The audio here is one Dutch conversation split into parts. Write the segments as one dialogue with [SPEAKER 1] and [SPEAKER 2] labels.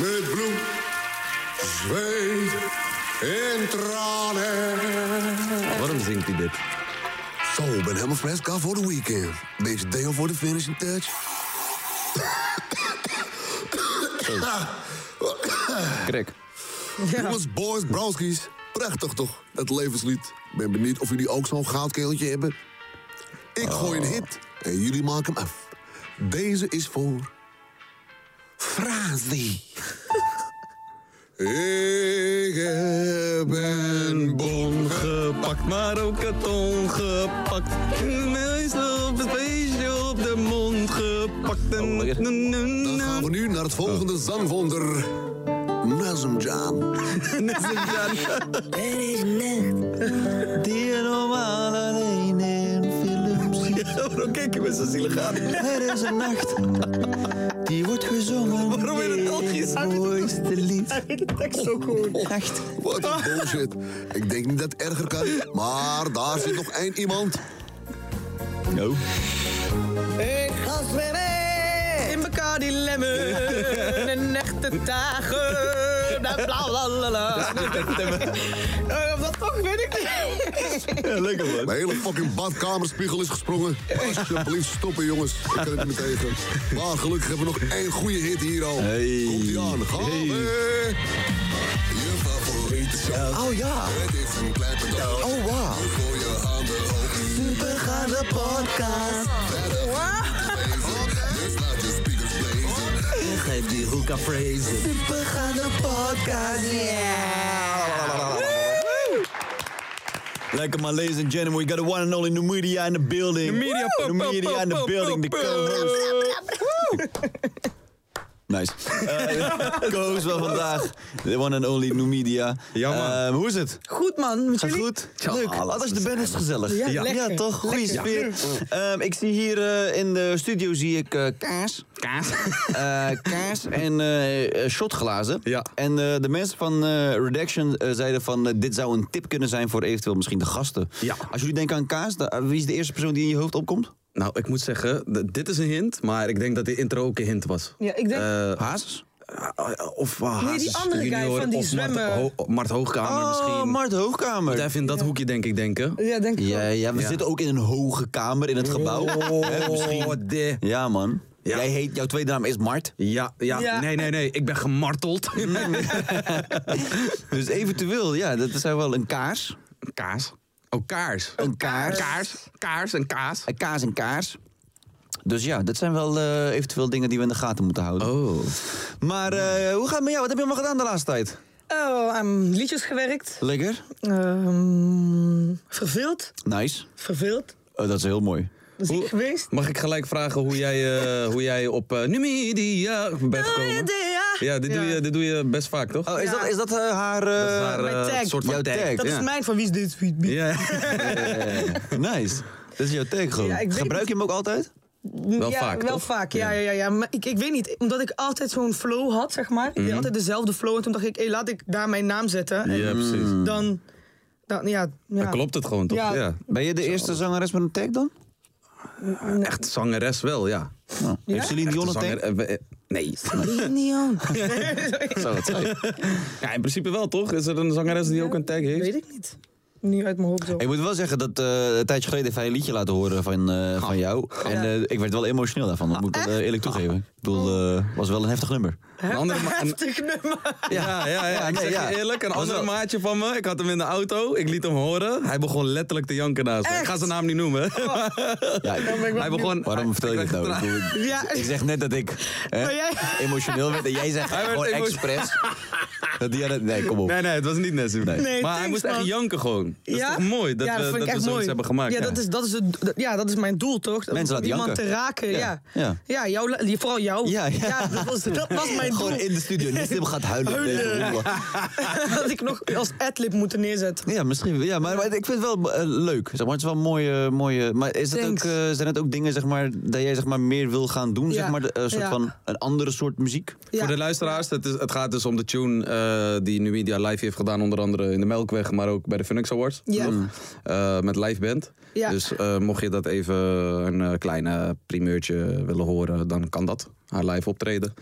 [SPEAKER 1] Met bloed, zweet en tranen.
[SPEAKER 2] Waarom zingt hij dit?
[SPEAKER 3] Zo, ik ben helemaal fresh klaar voor de weekend. Beetje deo voor de finishing touch.
[SPEAKER 2] Krek.
[SPEAKER 3] Jongens, boys, broskies. Prachtig toch, dat levenslied. Ben benieuwd of jullie ook zo'n goudkeeltje hebben.
[SPEAKER 1] Oh.
[SPEAKER 3] Ik gooi een hit en jullie maken hem af. Deze is voor... Frazi.
[SPEAKER 1] Ik heb een bon gepakt, maar ook het ongepakt. Meestal op het feestje op de mond gepakt. En-
[SPEAKER 2] lekker.
[SPEAKER 1] en- en-
[SPEAKER 3] Dan gaan we nu naar het
[SPEAKER 1] Oh.
[SPEAKER 3] volgende zangwonder. Nazemjaan.
[SPEAKER 1] Er is nacht die je normaal alleen in films ziet. waarom kijk je met zo'n zielig aan? Er is een nacht die wordt gezongen waarom in het Belgisch? het mooiste lied. Oh, Hij weet de tekst ook goed. Nacht.
[SPEAKER 3] Wat een bullshit. Ik denk niet dat het erger kan, maar daar zit nog één iemand.
[SPEAKER 1] Ik ga zwemmen in Bacardi Lemmen. Een echte dagen. Bla bla bla la la. Eh, Wat fuck weet ik niet. lekker man.
[SPEAKER 3] Mijn hele fucking badkamerspiegel is gesprongen. Alsjeblieft, stoppen jongens. Ik kan het niet meer tegen. Maar gelukkig hebben we nog één goede hit hier al. Komt ie aan. Gaan we. Je favoriete show.
[SPEAKER 1] Oh ja.
[SPEAKER 3] Het is een klein cadeau.
[SPEAKER 1] Oh wow.
[SPEAKER 3] Gooi je handen hoog.
[SPEAKER 1] Supergaande podcast.
[SPEAKER 3] Dus laat je speakers blazen.
[SPEAKER 1] Geef die hoek aan praise. Supergaande podcast.
[SPEAKER 4] Lekker man, ladies and gentlemen, we got the one and only Numidia in the building. Numidia, Numidia in the building. De Nice. Eh co-host van vandaag, the one and only Numidia.
[SPEAKER 5] Ja, man.
[SPEAKER 4] Eh, hoe is het?
[SPEAKER 6] Goed man, met
[SPEAKER 4] Gaat
[SPEAKER 6] jullie?
[SPEAKER 4] goed? Leuk. Wat als je er bent is het gezellig.
[SPEAKER 6] Ja, lekker.
[SPEAKER 4] toch? Goeie
[SPEAKER 6] Lekker.
[SPEAKER 4] sfeer. Ehm, ik zie hier eh, in de studio zie ik eh, kaas. Kaas.
[SPEAKER 5] Eh,
[SPEAKER 4] kaas en eh, eh, shotglazen.
[SPEAKER 5] Ja.
[SPEAKER 4] En eh, de mensen van eh, Redaction eh, zeiden van eh, dit zou een tip kunnen zijn voor eventueel misschien de gasten.
[SPEAKER 5] Ja.
[SPEAKER 4] Als jullie denken aan kaas, da- eh, wie is de eerste persoon die in je hoofd opkomt?
[SPEAKER 5] Nou, ik moet zeggen, d- dit is een hint, maar ik denk dat die intro ook een hint was.
[SPEAKER 6] Ja, ik denk-
[SPEAKER 5] Eh,
[SPEAKER 4] Hazes?
[SPEAKER 5] ah, of uh,
[SPEAKER 6] die andere guy van die zwemmen.
[SPEAKER 5] Mart, Ho- Mart Hoogkamer
[SPEAKER 4] Oh,
[SPEAKER 5] misschien.
[SPEAKER 4] Mart
[SPEAKER 5] Moet
[SPEAKER 4] Hoogkamer.
[SPEAKER 5] Even in dat hoekje denk ik denken.
[SPEAKER 6] Ja, denk ik.
[SPEAKER 4] Ja,
[SPEAKER 6] wel.
[SPEAKER 4] ja, we
[SPEAKER 5] Ja.
[SPEAKER 4] zitten ook in een hoge kamer in het gebouw.
[SPEAKER 5] eh,
[SPEAKER 4] Hè, misschien.
[SPEAKER 5] Oh, de.
[SPEAKER 4] Ja, man.
[SPEAKER 5] Ja.
[SPEAKER 4] Jij heet, jouw tweede naam is Mart.
[SPEAKER 5] Ja, ja,
[SPEAKER 6] Ja.
[SPEAKER 5] nee, nee, nee. Ik ben gemarteld.
[SPEAKER 4] Dus eventueel, ja, dat zijn wel een kaars.
[SPEAKER 5] kaas. Oh, kaars.
[SPEAKER 4] Een kaars.
[SPEAKER 5] Kaars. Kaars en kaas.
[SPEAKER 4] Een kaas en kaars. Dus ja, dat zijn wel eh, eventueel dingen die we in de gaten moeten houden.
[SPEAKER 5] Oh.
[SPEAKER 4] Maar eh, hoe gaat het met jou? Wat heb je allemaal gedaan de laatste tijd?
[SPEAKER 6] Oh, aan liedjes gewerkt.
[SPEAKER 4] Lekker.
[SPEAKER 6] Ehm, verveeld.
[SPEAKER 4] Nice.
[SPEAKER 6] Verveeld.
[SPEAKER 4] Oh, dat is heel mooi.
[SPEAKER 6] Ziek geweest.
[SPEAKER 5] Mag ik gelijk vragen hoe jij, eh, hoe jij op eh Numidia bent gekomen? Ja, dit, Doe je, dit doe je best vaak, toch?
[SPEAKER 4] Oh, is
[SPEAKER 6] Ja.
[SPEAKER 4] dat, is dat eh, haar... eh,
[SPEAKER 5] Dat is haar,
[SPEAKER 6] mijn
[SPEAKER 5] eh,
[SPEAKER 6] tag.
[SPEAKER 5] soort van
[SPEAKER 4] Jouw tag,
[SPEAKER 6] Dat
[SPEAKER 5] ja.
[SPEAKER 6] is mijn van wie is dit? Wie- wie-
[SPEAKER 5] Ja,
[SPEAKER 4] Nice. Dat is jouw tag gewoon.
[SPEAKER 6] Ja, ik weet
[SPEAKER 4] Gebruik je hem ook altijd?
[SPEAKER 5] wel
[SPEAKER 6] ja,
[SPEAKER 5] vaak,
[SPEAKER 6] Wel
[SPEAKER 5] toch?
[SPEAKER 6] vaak, ja, ja, ja. ja. Maar ik, ik weet niet, omdat ik altijd zo'n flow had, zeg maar. Ik deed altijd dezelfde flow. En toen dacht ik, hé, laat ik daar mijn naam zetten. En
[SPEAKER 5] Mhm. Ja, precies.
[SPEAKER 6] dan, dan, ja, ja.
[SPEAKER 5] Dan klopt het gewoon, toch?
[SPEAKER 6] Ja.
[SPEAKER 5] Ja.
[SPEAKER 4] Ben je de eerste zangeres met een tag dan?
[SPEAKER 5] Echt zangeres wel, ja.
[SPEAKER 4] Nou, Heeft Celine Dion een
[SPEAKER 5] Echte
[SPEAKER 4] tag?
[SPEAKER 5] zanger- eh, eh, Nee.
[SPEAKER 6] Neon.
[SPEAKER 4] Zo, wat zei je?
[SPEAKER 5] Ja, in principe wel, toch? Is er een zangeres die ook een tag heeft?
[SPEAKER 6] Weet ik niet. nu uit mijn hoofd zo.
[SPEAKER 4] Ik moet wel zeggen dat eh, een tijdje geleden heeft hij een liedje laten horen van, eh, van jou.
[SPEAKER 5] Oh.
[SPEAKER 4] En eh, ik werd wel emotioneel daarvan, dat moet ik wel, eh, eerlijk toegeven. Ik bedoel,
[SPEAKER 5] Oh.
[SPEAKER 4] het was wel een heftig nummer.
[SPEAKER 5] Een andere ma- een-
[SPEAKER 6] Heftig nummer.
[SPEAKER 5] ja, ja, ja.
[SPEAKER 4] Ja,
[SPEAKER 5] Ik
[SPEAKER 4] nee,
[SPEAKER 5] zeg
[SPEAKER 4] ja.
[SPEAKER 5] je eerlijk, een
[SPEAKER 4] Was
[SPEAKER 5] andere
[SPEAKER 4] wel-
[SPEAKER 5] maatje van me, ik had hem in de auto, ik liet hem horen. Hij begon letterlijk te janken naast me. Ik ga zijn naam niet noemen.
[SPEAKER 4] Ja, ik-
[SPEAKER 5] Hij begon...
[SPEAKER 4] waarom vertel je dit nou? Ik, bedoel, ik-
[SPEAKER 6] Ja.
[SPEAKER 4] ik zeg net dat ik hè,
[SPEAKER 6] Maar jij-
[SPEAKER 4] emotioneel werd en jij zegt
[SPEAKER 5] Hij werd
[SPEAKER 4] gewoon
[SPEAKER 5] emo-
[SPEAKER 4] expres. dat die aan het, nee, kom op.
[SPEAKER 5] Nee, nee, het was niet Nessie. maar
[SPEAKER 6] Nee,
[SPEAKER 5] hij
[SPEAKER 6] thanks,
[SPEAKER 5] moest
[SPEAKER 6] man.
[SPEAKER 5] echt janken gewoon. Dat
[SPEAKER 6] ja?
[SPEAKER 5] is toch mooi dat
[SPEAKER 6] Ja,
[SPEAKER 5] we,
[SPEAKER 6] vind
[SPEAKER 5] dat
[SPEAKER 6] ik
[SPEAKER 5] we
[SPEAKER 6] echt
[SPEAKER 5] zoiets
[SPEAKER 6] mooi.
[SPEAKER 5] hebben gemaakt.
[SPEAKER 6] Ja, Dat, is, dat, is het, dat- ja, dat is mijn doel toch? Om
[SPEAKER 4] Mensen laten
[SPEAKER 6] iemand
[SPEAKER 4] janken.
[SPEAKER 6] te raken. Ja.
[SPEAKER 4] Ja,
[SPEAKER 6] Ja.
[SPEAKER 4] ja.
[SPEAKER 6] jouw, li- vooral jou.
[SPEAKER 4] Ja, ja.
[SPEAKER 6] dat, was, dat was mijn doel.
[SPEAKER 4] Gewoon in de studio. Nessim gaat huilen.
[SPEAKER 6] Huilen. dat ik nog als adlib moeten neerzetten.
[SPEAKER 4] Ja, misschien. wel. Ja, maar, maar ik vind het wel eh, leuk. Zeg maar, het is wel een mooie, mooie. Maar is dat ook,
[SPEAKER 6] Thanks.
[SPEAKER 4] eh, zijn het ook dingen zeg maar, dat jij zeg maar, meer wil gaan doen? Zeg
[SPEAKER 6] Ja.
[SPEAKER 4] maar, de- eh, soort
[SPEAKER 6] Ja.
[SPEAKER 4] van een andere soort muziek?
[SPEAKER 6] Ja.
[SPEAKER 5] Voor de luisteraars, het, is, het gaat dus om de tune eh, die Numidia live heeft gedaan. Onder andere in de Melkweg, maar ook bij de Phoenix Awards.
[SPEAKER 6] Ja.
[SPEAKER 5] toch?
[SPEAKER 6] Mm.
[SPEAKER 5] Eh, met live band.
[SPEAKER 6] Ja.
[SPEAKER 5] Dus eh, mocht je dat even een eh, kleine primeurtje willen horen, dan kan dat. Haar live optreden.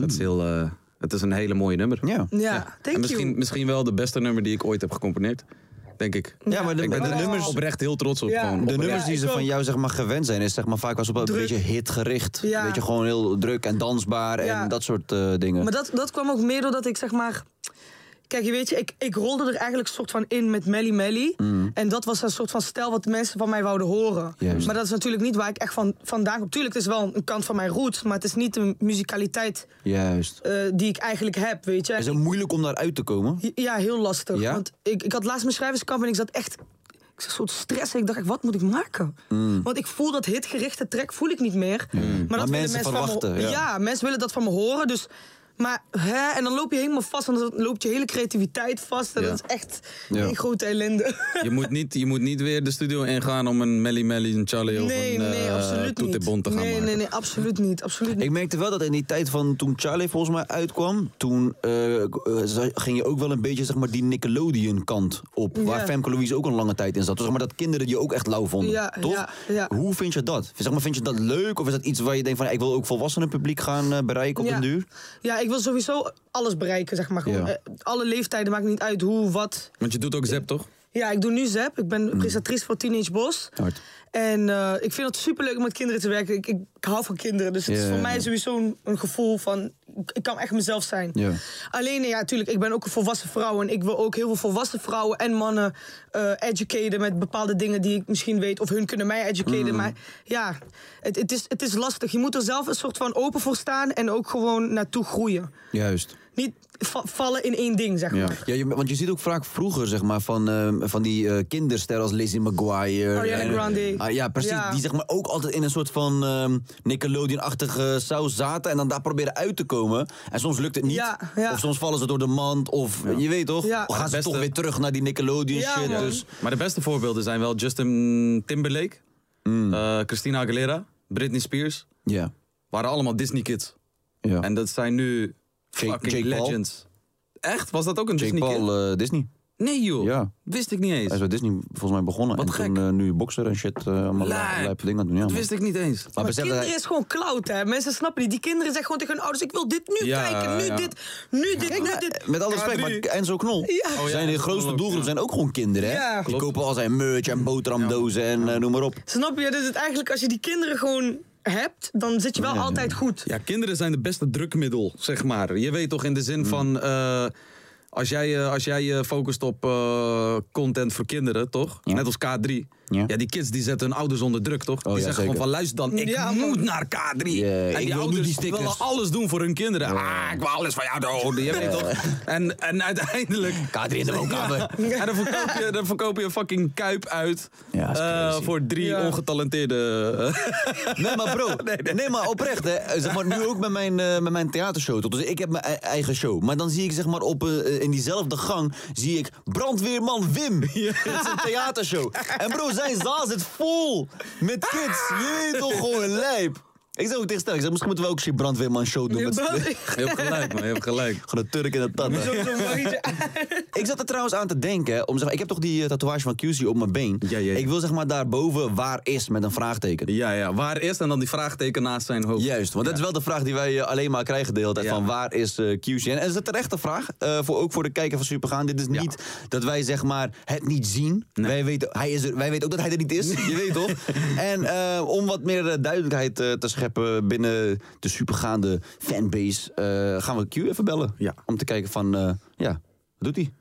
[SPEAKER 5] Het, is heel, eh, het is een hele mooie nummer.
[SPEAKER 4] Ja.
[SPEAKER 6] Ja, thank
[SPEAKER 5] en misschien,
[SPEAKER 6] you.
[SPEAKER 5] misschien wel de beste nummer die ik ooit heb gecomponeerd. Denk ik.
[SPEAKER 4] Ja, maar de,
[SPEAKER 5] ik ben
[SPEAKER 4] de
[SPEAKER 5] er
[SPEAKER 4] nummers,
[SPEAKER 5] oprecht heel trots op.
[SPEAKER 6] Ja.
[SPEAKER 5] gewoon.
[SPEAKER 6] De
[SPEAKER 4] de
[SPEAKER 5] Oprecht.
[SPEAKER 4] nummers die
[SPEAKER 6] Ja,
[SPEAKER 4] ze
[SPEAKER 6] ik
[SPEAKER 4] van
[SPEAKER 6] ook.
[SPEAKER 4] jou zeg maar, gewend zijn, is zeg maar, vaak was op een
[SPEAKER 6] Druk.
[SPEAKER 4] beetje hitgericht.
[SPEAKER 6] Ja.
[SPEAKER 4] Een beetje gewoon heel druk en dansbaar
[SPEAKER 6] Ja.
[SPEAKER 4] en dat soort eh, dingen.
[SPEAKER 6] Maar dat, dat kwam ook meer doordat ik zeg maar. Kijk, je weet je, ik, ik rolde er eigenlijk soort van in met Melly Melly.
[SPEAKER 5] Mm.
[SPEAKER 6] En dat was een soort van stijl wat de mensen van mij wouden horen.
[SPEAKER 4] Juist.
[SPEAKER 6] Maar dat is natuurlijk niet waar ik echt van, vandaan kom. Tuurlijk, het is wel een kant van mijn roots, maar het is niet de muzikaliteit
[SPEAKER 4] Juist.
[SPEAKER 6] eh, die ik eigenlijk heb, weet je.
[SPEAKER 4] Is het moeilijk om daaruit te komen?
[SPEAKER 6] Ja, heel lastig.
[SPEAKER 4] Ja?
[SPEAKER 6] Want ik, ik had laatst mijn schrijverskamp en ik zat echt... Ik zat een soort stress en ik dacht echt, wat moet ik maken? Want ik voel dat hitgerichte track voel ik niet meer. Maar, dat willen
[SPEAKER 4] mensen
[SPEAKER 6] Van
[SPEAKER 4] verwachten,
[SPEAKER 6] me,
[SPEAKER 4] ja.
[SPEAKER 6] ja. mensen willen dat van me horen, dus... Maar, hè, en dan loop je helemaal vast en dan loopt je hele creativiteit vast. En
[SPEAKER 5] Ja.
[SPEAKER 6] dat is echt
[SPEAKER 4] Ja.
[SPEAKER 6] een grote ellende.
[SPEAKER 5] Je moet, niet, je moet niet weer de studio ingaan om een Melly Melly, een Charlie of
[SPEAKER 6] nee,
[SPEAKER 5] een
[SPEAKER 6] nee,
[SPEAKER 5] eh,
[SPEAKER 6] absoluut
[SPEAKER 5] Toet de
[SPEAKER 6] niet.
[SPEAKER 5] Bon te gaan
[SPEAKER 6] nee,
[SPEAKER 5] maken.
[SPEAKER 6] nee, nee, absoluut niet. Absoluut niet.
[SPEAKER 4] Ik merkte wel dat in die tijd van toen Charlie volgens mij uitkwam, toen eh, k- eh, za- ging je ook wel een beetje zeg maar, die Nickelodeon kant op. Waar
[SPEAKER 6] Ja.
[SPEAKER 4] Femke Louise ook een lange tijd in zat. Dus zeg maar dat kinderen je ook echt lauw vonden.
[SPEAKER 6] Ja,
[SPEAKER 4] toch?
[SPEAKER 6] ja, ja.
[SPEAKER 4] Hoe vind je dat? Zeg maar, vind je dat leuk? Of is dat iets waar je denkt van ik wil ook volwassenen publiek gaan eh, bereiken op
[SPEAKER 6] ja.
[SPEAKER 4] den duur?
[SPEAKER 6] Ja, ik wil sowieso alles bereiken, zeg maar. Gewoon,
[SPEAKER 4] Ja.
[SPEAKER 6] eh, Alle leeftijden, maakt niet uit hoe, wat.
[SPEAKER 5] Want je doet ook Zep, toch?
[SPEAKER 6] Ja, ik doe nu ZEP. Ik ben presentatrice voor Teenage Bos.
[SPEAKER 4] Mm. Hard.
[SPEAKER 6] En eh, ik vind het superleuk om met kinderen te werken. Ik, ik, ik hou van kinderen. Dus het
[SPEAKER 4] Ja,
[SPEAKER 6] is voor
[SPEAKER 4] ja, ja.
[SPEAKER 6] mij sowieso een, een gevoel van... ik- Ik kan echt mezelf zijn.
[SPEAKER 4] Ja.
[SPEAKER 6] Alleen, ja, natuurlijk, ik ben ook een volwassen vrouw. En ik wil ook heel veel volwassen vrouwen en mannen eh educaten... met bepaalde dingen die ik misschien weet. Of hun kunnen mij
[SPEAKER 4] Mm.
[SPEAKER 6] educaten. Maar ja, het, het, is, het is lastig. Je moet er zelf een soort van open voor staan... en ook gewoon naartoe groeien.
[SPEAKER 4] Juist.
[SPEAKER 6] Niet va- vallen in één ding, zeg maar.
[SPEAKER 4] Ja, je- want je ziet ook vaak vroeger zeg maar, van, eh, van die eh, kindersterren als Lizzie McGuire.
[SPEAKER 6] Oh, Ariana
[SPEAKER 4] en-
[SPEAKER 6] Grande.
[SPEAKER 4] Ah, ja, precies.
[SPEAKER 6] Ja.
[SPEAKER 4] Die zeg maar, ook altijd in een soort van ehm, Nickelodeon-achtige saus zaten. En dan daar proberen uit te komen. En soms lukt het niet.
[SPEAKER 6] Ja, ja.
[SPEAKER 4] Of soms vallen ze door de mand. Of je weet toch?
[SPEAKER 6] Ja.
[SPEAKER 4] Of gaan ze
[SPEAKER 5] Beste-
[SPEAKER 4] toch weer terug naar die Nickelodeon
[SPEAKER 6] Ja,
[SPEAKER 4] shit.
[SPEAKER 6] man.
[SPEAKER 4] Dus.
[SPEAKER 5] Maar de beste voorbeelden zijn wel Justin Timberlake,
[SPEAKER 4] Mm.
[SPEAKER 5] eh, Christina Aguilera, Britney Spears.
[SPEAKER 4] Ja.
[SPEAKER 5] Waren allemaal Disney kids.
[SPEAKER 4] ja.
[SPEAKER 5] En dat zijn nu
[SPEAKER 4] Jake-
[SPEAKER 5] fucking
[SPEAKER 4] Jake Paul.
[SPEAKER 5] legends. Echt? Was dat ook een
[SPEAKER 4] Jake
[SPEAKER 5] Disney
[SPEAKER 4] Paul,
[SPEAKER 5] kid?
[SPEAKER 4] eh, Disney.
[SPEAKER 5] Nee joh,
[SPEAKER 4] Ja.
[SPEAKER 5] wist ik niet eens.
[SPEAKER 4] Hij is bij Disney volgens mij begonnen.
[SPEAKER 5] Wat
[SPEAKER 4] en
[SPEAKER 5] gek.
[SPEAKER 4] toen eh, nu bokser en shit. eh allemaal
[SPEAKER 5] Lijp.
[SPEAKER 4] lijpe dingen aan het doen. Ja,
[SPEAKER 5] Dat
[SPEAKER 4] man.
[SPEAKER 5] wist ik niet eens.
[SPEAKER 4] Maar
[SPEAKER 6] Maar
[SPEAKER 4] besef dat
[SPEAKER 6] kinderen
[SPEAKER 4] hij-
[SPEAKER 6] is gewoon clout, hè? Mensen snappen niet. Die kinderen zeggen gewoon tegen hun ouders: ik wil dit nu
[SPEAKER 5] Ja,
[SPEAKER 6] kijken, nu
[SPEAKER 5] ja.
[SPEAKER 6] dit, nu dit, nu dit.
[SPEAKER 4] Met alle respect, maar
[SPEAKER 5] drie.
[SPEAKER 4] Enzo Knol.
[SPEAKER 6] Ja.
[SPEAKER 5] Oh, ja,
[SPEAKER 4] zijn de
[SPEAKER 5] Enzo
[SPEAKER 4] grootste
[SPEAKER 5] Knol ook,
[SPEAKER 4] doelgroep
[SPEAKER 5] ja.
[SPEAKER 4] zijn ook gewoon kinderen. Hè?
[SPEAKER 6] Ja.
[SPEAKER 4] Die
[SPEAKER 5] Klopt.
[SPEAKER 4] kopen al zijn merch en boterhamdozen en eh, noem maar op.
[SPEAKER 6] Snap je? Dus het eigenlijk, als je die kinderen gewoon hebt, dan zit je wel altijd goed.
[SPEAKER 5] Ja, kinderen zijn het beste drukmiddel, zeg maar. Je weet toch in de zin
[SPEAKER 4] Hmm.
[SPEAKER 5] van. eh, als, jij, eh, als jij je focust op eh, content voor kinderen, toch? Net als K3.
[SPEAKER 4] Ja. Oh,
[SPEAKER 5] Ja. die kids die zetten hun ouders onder druk, toch? die
[SPEAKER 4] ja,
[SPEAKER 5] zeggen
[SPEAKER 4] zeker.
[SPEAKER 5] gewoon van luister dan, ik
[SPEAKER 6] Ja, man.
[SPEAKER 5] moet naar K3.
[SPEAKER 4] Ja, ik
[SPEAKER 5] en die
[SPEAKER 4] wil nu
[SPEAKER 5] ouders
[SPEAKER 4] die stickers.
[SPEAKER 5] willen alles doen voor hun kinderen. Ah, ik wil alles van jou doen. Je weet toch? En, en uiteindelijk...
[SPEAKER 4] K3 in de woonkamer.
[SPEAKER 5] En dan verkoop, je, dan verkoop je een fucking kuip uit
[SPEAKER 4] Ja, dat is
[SPEAKER 5] eh,
[SPEAKER 4] crazy.
[SPEAKER 5] voor drie
[SPEAKER 6] Ja.
[SPEAKER 5] ongetalenteerde...
[SPEAKER 4] Nee, maar bro. Nee, maar oprecht, hè. Eh, Zeg maar, nu ook met mijn, eh, met mijn theatershow. Tot. Dus ik heb mijn ei- eigen show. Maar dan zie ik, zeg maar, op, eh, in diezelfde gang... zie ik brandweerman Wim. Het is een theatershow. En bro, zijn zaal zit vol met kids. Je weet toch, gewoon lijp. Ik zei ook tegen Stel, ik zeg, misschien moeten we ook shit brandweerman show doen met z'n tweeën.
[SPEAKER 5] Je hebt gelijk, man. Je hebt gelijk.
[SPEAKER 4] Gewoon een Turk en een Tata. Ik zat er trouwens aan te denken. Om, zeg, maar, ik heb toch die eh, tatoeage van QC op mijn been.
[SPEAKER 5] Ja, ja, ja.
[SPEAKER 4] Ik wil zeg maar daarboven waar is met een vraagteken.
[SPEAKER 5] Ja, ja. Waar eerst en dan die vraagteken naast zijn hoofd.
[SPEAKER 4] Juist, want dat is wel de vraag die wij eh, alleen maar krijgen de hele tijd.
[SPEAKER 5] Ja.
[SPEAKER 4] Van waar is eh QC? En dat is een terechte vraag, eh, voor, ook voor de kijker van Supergaan. Dit is niet dat wij zeg maar het niet zien. Wij, weten, hij is er, wij weten ook dat hij er niet is, je weet toch? En eh, om wat meer eh, duidelijkheid eh, te scheppen binnen de Supergaande fanbase... eh, gaan we Q even bellen.
[SPEAKER 5] Ja.
[SPEAKER 4] Om te kijken van, eh, ja, wat doet hij?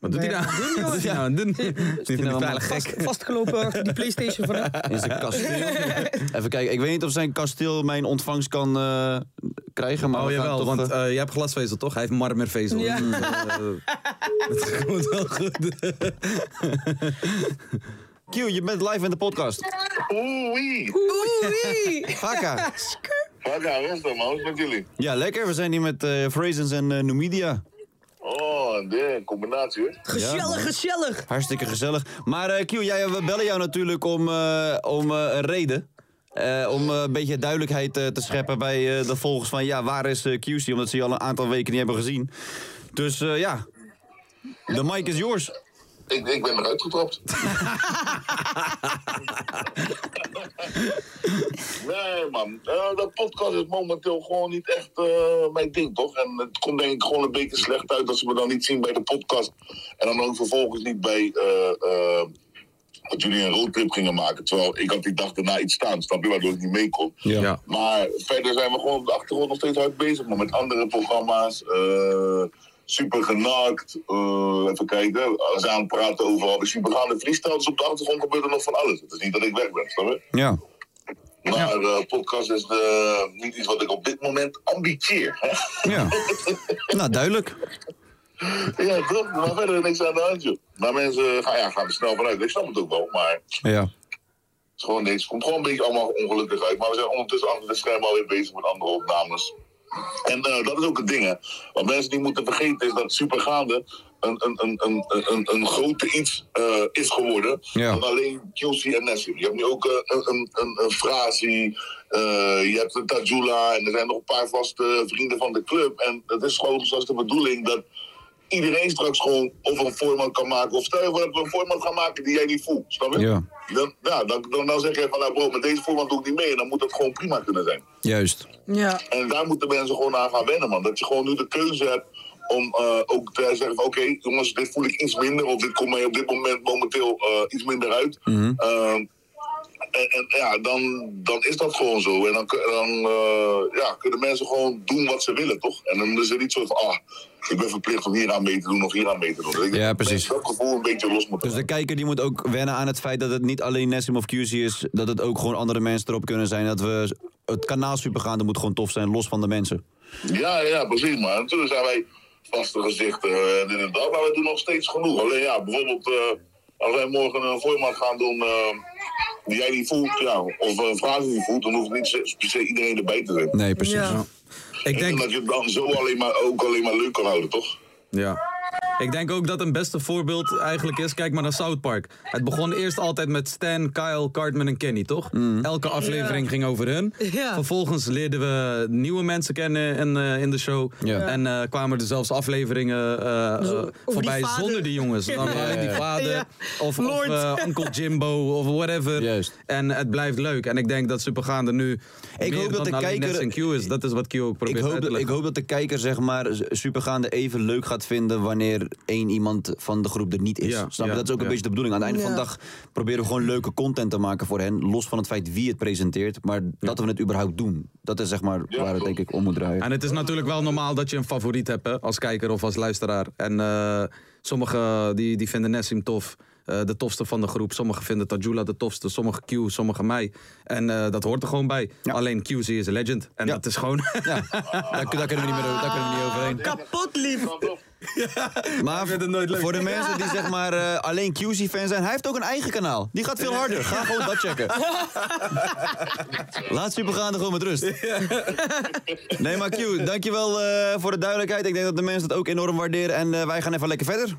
[SPEAKER 5] Wat doet hij
[SPEAKER 6] Ja,
[SPEAKER 5] nou?
[SPEAKER 6] wat doen, joh?
[SPEAKER 5] Wat doet hij nou aan het doen? Die vindt
[SPEAKER 4] nou
[SPEAKER 5] het
[SPEAKER 4] allemaal
[SPEAKER 5] veilig gek.
[SPEAKER 6] Vastgelopen achter die PlayStation van hem.
[SPEAKER 4] In zijn kasteel. Even kijken, ik weet niet of zijn kasteel mijn ontvangst kan eh, krijgen. Maar
[SPEAKER 5] Oh
[SPEAKER 4] we gaan
[SPEAKER 5] jawel,
[SPEAKER 4] toch,
[SPEAKER 5] want
[SPEAKER 4] eh,
[SPEAKER 5] eh, jij hebt glasvezel toch? Hij heeft marmervezel.
[SPEAKER 6] Ja.
[SPEAKER 5] Dus, eh, dat komt wel goed.
[SPEAKER 4] Q, je bent live in de podcast.
[SPEAKER 2] Oei,
[SPEAKER 6] Oei!
[SPEAKER 4] Haka.
[SPEAKER 2] wat gaan we dan, man? Hoe is het met jullie?
[SPEAKER 4] Ja, lekker. We zijn hier met eh Frazens en eh, Numidia.
[SPEAKER 2] Oh, de combinatie, hoor.
[SPEAKER 4] man.
[SPEAKER 6] Gezellig, gezellig!
[SPEAKER 4] Hartstikke gezellig. Maar eh Q, jij, we bellen jou natuurlijk om, eh, om eh, een reden. Eh, om eh, een beetje duidelijkheid eh, te scheppen bij eh, de volgers van... ja, waar is eh, QC? Omdat ze je al een aantal weken niet hebben gezien. Dus eh, ja, de mic is yours.
[SPEAKER 2] Ik, ik ben eruit getrapt. nee, man. Eh, dat podcast is momenteel gewoon niet echt eh, mijn ding, toch? En het komt denk ik gewoon een beetje slecht uit dat ze me dan niet zien bij de podcast. En dan ook vervolgens niet bij eh, eh, dat jullie een roadtrip gingen maken. Terwijl ik had die dag daarna iets staan, snap je? Waardoor ik niet mee kon.
[SPEAKER 5] Ja.
[SPEAKER 2] Maar verder zijn we gewoon op de achtergrond nog steeds hard bezig. Maar met andere programma's. eh, super genakt. eh, even kijken. Als we aan het praten over al die supergaande freestyles op de achtergrond gebeurt er nog van alles. Het is niet dat ik weg ben, snap je?
[SPEAKER 4] Ja.
[SPEAKER 2] Maar eh, podcast is eh, niet iets wat ik op dit moment ambitieer. hè?
[SPEAKER 4] ja. nou, duidelijk.
[SPEAKER 2] ja, toch? Maar verder niks aan de hand, joh. Maar mensen gaan, ja, gaan er snel vanuit. Ik snap het ook wel, maar...
[SPEAKER 4] Ja.
[SPEAKER 2] Het is gewoon niks. Het komt gewoon een beetje allemaal ongelukkig uit. Maar we zijn ondertussen achter de schermen alweer bezig met andere opnames. En eh, dat is ook het ding, hè. Wat mensen niet moeten vergeten is dat Supergaande een, een, een, een, een, een grote iets eh, is geworden.
[SPEAKER 4] Ja.
[SPEAKER 2] Dan alleen QC en Nessie. Je hebt nu ook eh, een, een, een, een Frazi, eh, je hebt een Tajula en er zijn nog een paar vaste vrienden van de club. En het is gewoon zoals de bedoeling dat iedereen straks gewoon of een voorman kan maken. Of stel je voor dat we een voorman gaan maken die jij niet voelt, snap je?
[SPEAKER 4] Ja.
[SPEAKER 2] Dan, ja, dan, dan, dan zeg je van, nou bro, met deze voorman doe ik niet mee. En dan moet dat gewoon prima kunnen zijn.
[SPEAKER 4] Juist.
[SPEAKER 6] Ja,
[SPEAKER 2] En daar moeten mensen gewoon aan gaan wennen, man. Dat je gewoon nu de keuze hebt om eh, ook te zeggen van... oké, jongens, dit voel ik iets minder... of dit komt mij op dit moment momenteel eh, iets minder uit.
[SPEAKER 4] Mhm.
[SPEAKER 2] Ehm, en, en ja, dan, dan is dat gewoon zo. En dan, kun- dan eh, ja, kunnen mensen gewoon doen wat ze willen, toch? En dan is er niet zo van... ah, ik ben verplicht om hier aan mee te doen of hier aan mee te doen. Dus ik
[SPEAKER 4] Ja,
[SPEAKER 2] denk dat
[SPEAKER 4] precies.
[SPEAKER 2] mensen Dat gevoel een beetje los moeten
[SPEAKER 4] Dus de
[SPEAKER 2] laten.
[SPEAKER 4] kijker die moet ook wennen aan het feit dat het niet alleen Nessim of QC is. Dat het ook gewoon andere mensen erop kunnen zijn. Dat we het kanaal supergaande moet gewoon tof zijn, los van de mensen.
[SPEAKER 2] Ja, ja, precies, man. Natuurlijk zijn wij vaste gezichten en dit en dat, maar we doen nog steeds genoeg. Alleen ja, bijvoorbeeld eh, als wij morgen een voormaat gaan doen eh, die jij niet voelt, ja, of een vraag die je niet voelt, dan hoeft niet se- per se iedereen erbij te zijn.
[SPEAKER 4] Nee, precies.
[SPEAKER 6] ja.
[SPEAKER 5] Ik
[SPEAKER 2] Ik denk
[SPEAKER 5] denk,
[SPEAKER 2] dat je het dan zo alleen maar, ook alleen maar leuk kan houden, toch?
[SPEAKER 5] ja. Ik denk ook dat een beste voorbeeld eigenlijk is, kijk maar naar South Park. Het begon eerst altijd met Stan, Kyle, Cartman en Kenny, toch?
[SPEAKER 4] Mhm.
[SPEAKER 5] Elke aflevering ging over hun.
[SPEAKER 6] Ja.
[SPEAKER 5] Vervolgens leerden we nieuwe mensen kennen in, eh, in de show.
[SPEAKER 4] Ja.
[SPEAKER 5] En eh, kwamen er zelfs afleveringen eh, eh,
[SPEAKER 6] over die
[SPEAKER 5] voorbij
[SPEAKER 6] vader.
[SPEAKER 5] zonder die jongens. Dan
[SPEAKER 6] Ja.
[SPEAKER 5] alleen die vader
[SPEAKER 6] Ja.
[SPEAKER 5] of, of
[SPEAKER 6] Lord.
[SPEAKER 5] eh, Uncle Jimbo of whatever.
[SPEAKER 4] Juist.
[SPEAKER 5] En het blijft leuk. En ik denk dat Supergaande nu meer
[SPEAKER 4] hoop dat
[SPEAKER 5] dan
[SPEAKER 4] de
[SPEAKER 5] alleen
[SPEAKER 4] kijker-
[SPEAKER 5] Nets en Q is. Dat is wat Q ook
[SPEAKER 4] Ik
[SPEAKER 5] probeert
[SPEAKER 4] hoop,
[SPEAKER 5] uit te
[SPEAKER 4] dat, ik
[SPEAKER 5] leggen.
[SPEAKER 4] hoop dat de kijker zeg maar supergaande even leuk gaat vinden wanneer één iemand van de groep er niet is.
[SPEAKER 5] Ja,
[SPEAKER 4] Snap je?
[SPEAKER 5] ja,
[SPEAKER 4] dat is ook een
[SPEAKER 5] ja.
[SPEAKER 4] beetje de bedoeling. Aan het einde van de
[SPEAKER 6] Ja.
[SPEAKER 4] dag proberen we gewoon leuke content te maken voor hen. Los van het feit wie het presenteert, maar dat we het überhaupt doen. Dat is zeg maar waar het denk ik om moet draaien.
[SPEAKER 5] En het is natuurlijk wel normaal dat je een favoriet hebt hè, als kijker of als luisteraar. En eh, sommigen die, die vinden Nessim tof. eh, de tofste van de groep. Sommigen vinden Tajula de tofste. Sommigen Q, sommigen mij. En eh, dat hoort er gewoon bij. Alleen QC is een legend. En
[SPEAKER 4] Ja.
[SPEAKER 5] dat is gewoon...
[SPEAKER 4] Ja, daar, daar kunnen we niet meer over- daar kunnen we niet overheen.
[SPEAKER 6] Ah, Kapot lief!
[SPEAKER 4] Maar voor de mensen die zeg maar eh, alleen QC-fan zijn, hij heeft ook een eigen kanaal. Die gaat veel harder. Ga gewoon dat checken. Laat supergaande gewoon met rust. Nee, maar Q, dankjewel eh voor de duidelijkheid. Ik denk dat de mensen dat ook enorm waarderen. En eh, wij gaan even lekker verder.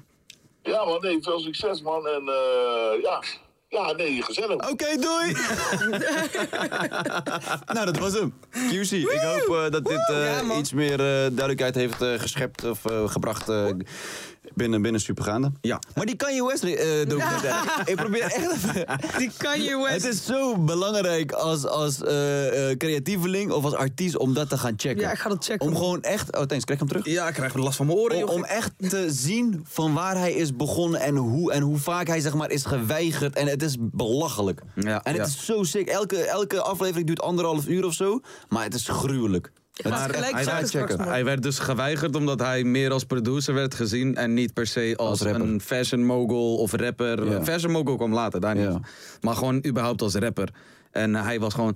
[SPEAKER 2] Ja, man, nee, veel succes, man. En eh, ja, Ja, nee, gezellig.
[SPEAKER 6] Oh,
[SPEAKER 4] Oké, doei! nou, dat was hem. QC, ik hoop eh, dat dit eh,
[SPEAKER 6] Ja, man.
[SPEAKER 4] iets meer eh, duidelijkheid heeft eh, geschept of eh, gebracht eh, binnen, binnen Supergaande.
[SPEAKER 5] Ja.
[SPEAKER 4] Maar die Kanye West eh documentaire, ik probeer echt even...
[SPEAKER 6] Die Kanye West.
[SPEAKER 4] Het is zo belangrijk als, als eh, eh, creatieveling of als artiest om dat te gaan checken.
[SPEAKER 6] Ja, ik ga dat checken.
[SPEAKER 4] Om gewoon echt... Oh, thanks, krijg ik hem terug?
[SPEAKER 5] Ja, ik krijg last van mijn oren,
[SPEAKER 4] Om,
[SPEAKER 5] joh.
[SPEAKER 4] om echt te zien van waar hij is begonnen en hoe, en hoe vaak hij zeg maar, is geweigerd. En het is belachelijk.
[SPEAKER 5] Ja,
[SPEAKER 4] en het
[SPEAKER 5] ja.
[SPEAKER 4] is zo sick. Elke, elke aflevering duurt anderhalf uur of zo. Maar het is gruwelijk.
[SPEAKER 6] ga het gelijk
[SPEAKER 4] hij
[SPEAKER 6] checken
[SPEAKER 4] gaat
[SPEAKER 6] straks,
[SPEAKER 4] checken.
[SPEAKER 6] man.
[SPEAKER 5] Hij werd dus geweigerd omdat hij meer als producer werd gezien en niet per se als,
[SPEAKER 4] Als rapper.
[SPEAKER 5] een fashion mogul of rapper.
[SPEAKER 4] Ja.
[SPEAKER 5] Fashion mogul kwam later, daar niet.
[SPEAKER 4] Ja.
[SPEAKER 5] Maar gewoon überhaupt als rapper. En eh, hij was gewoon,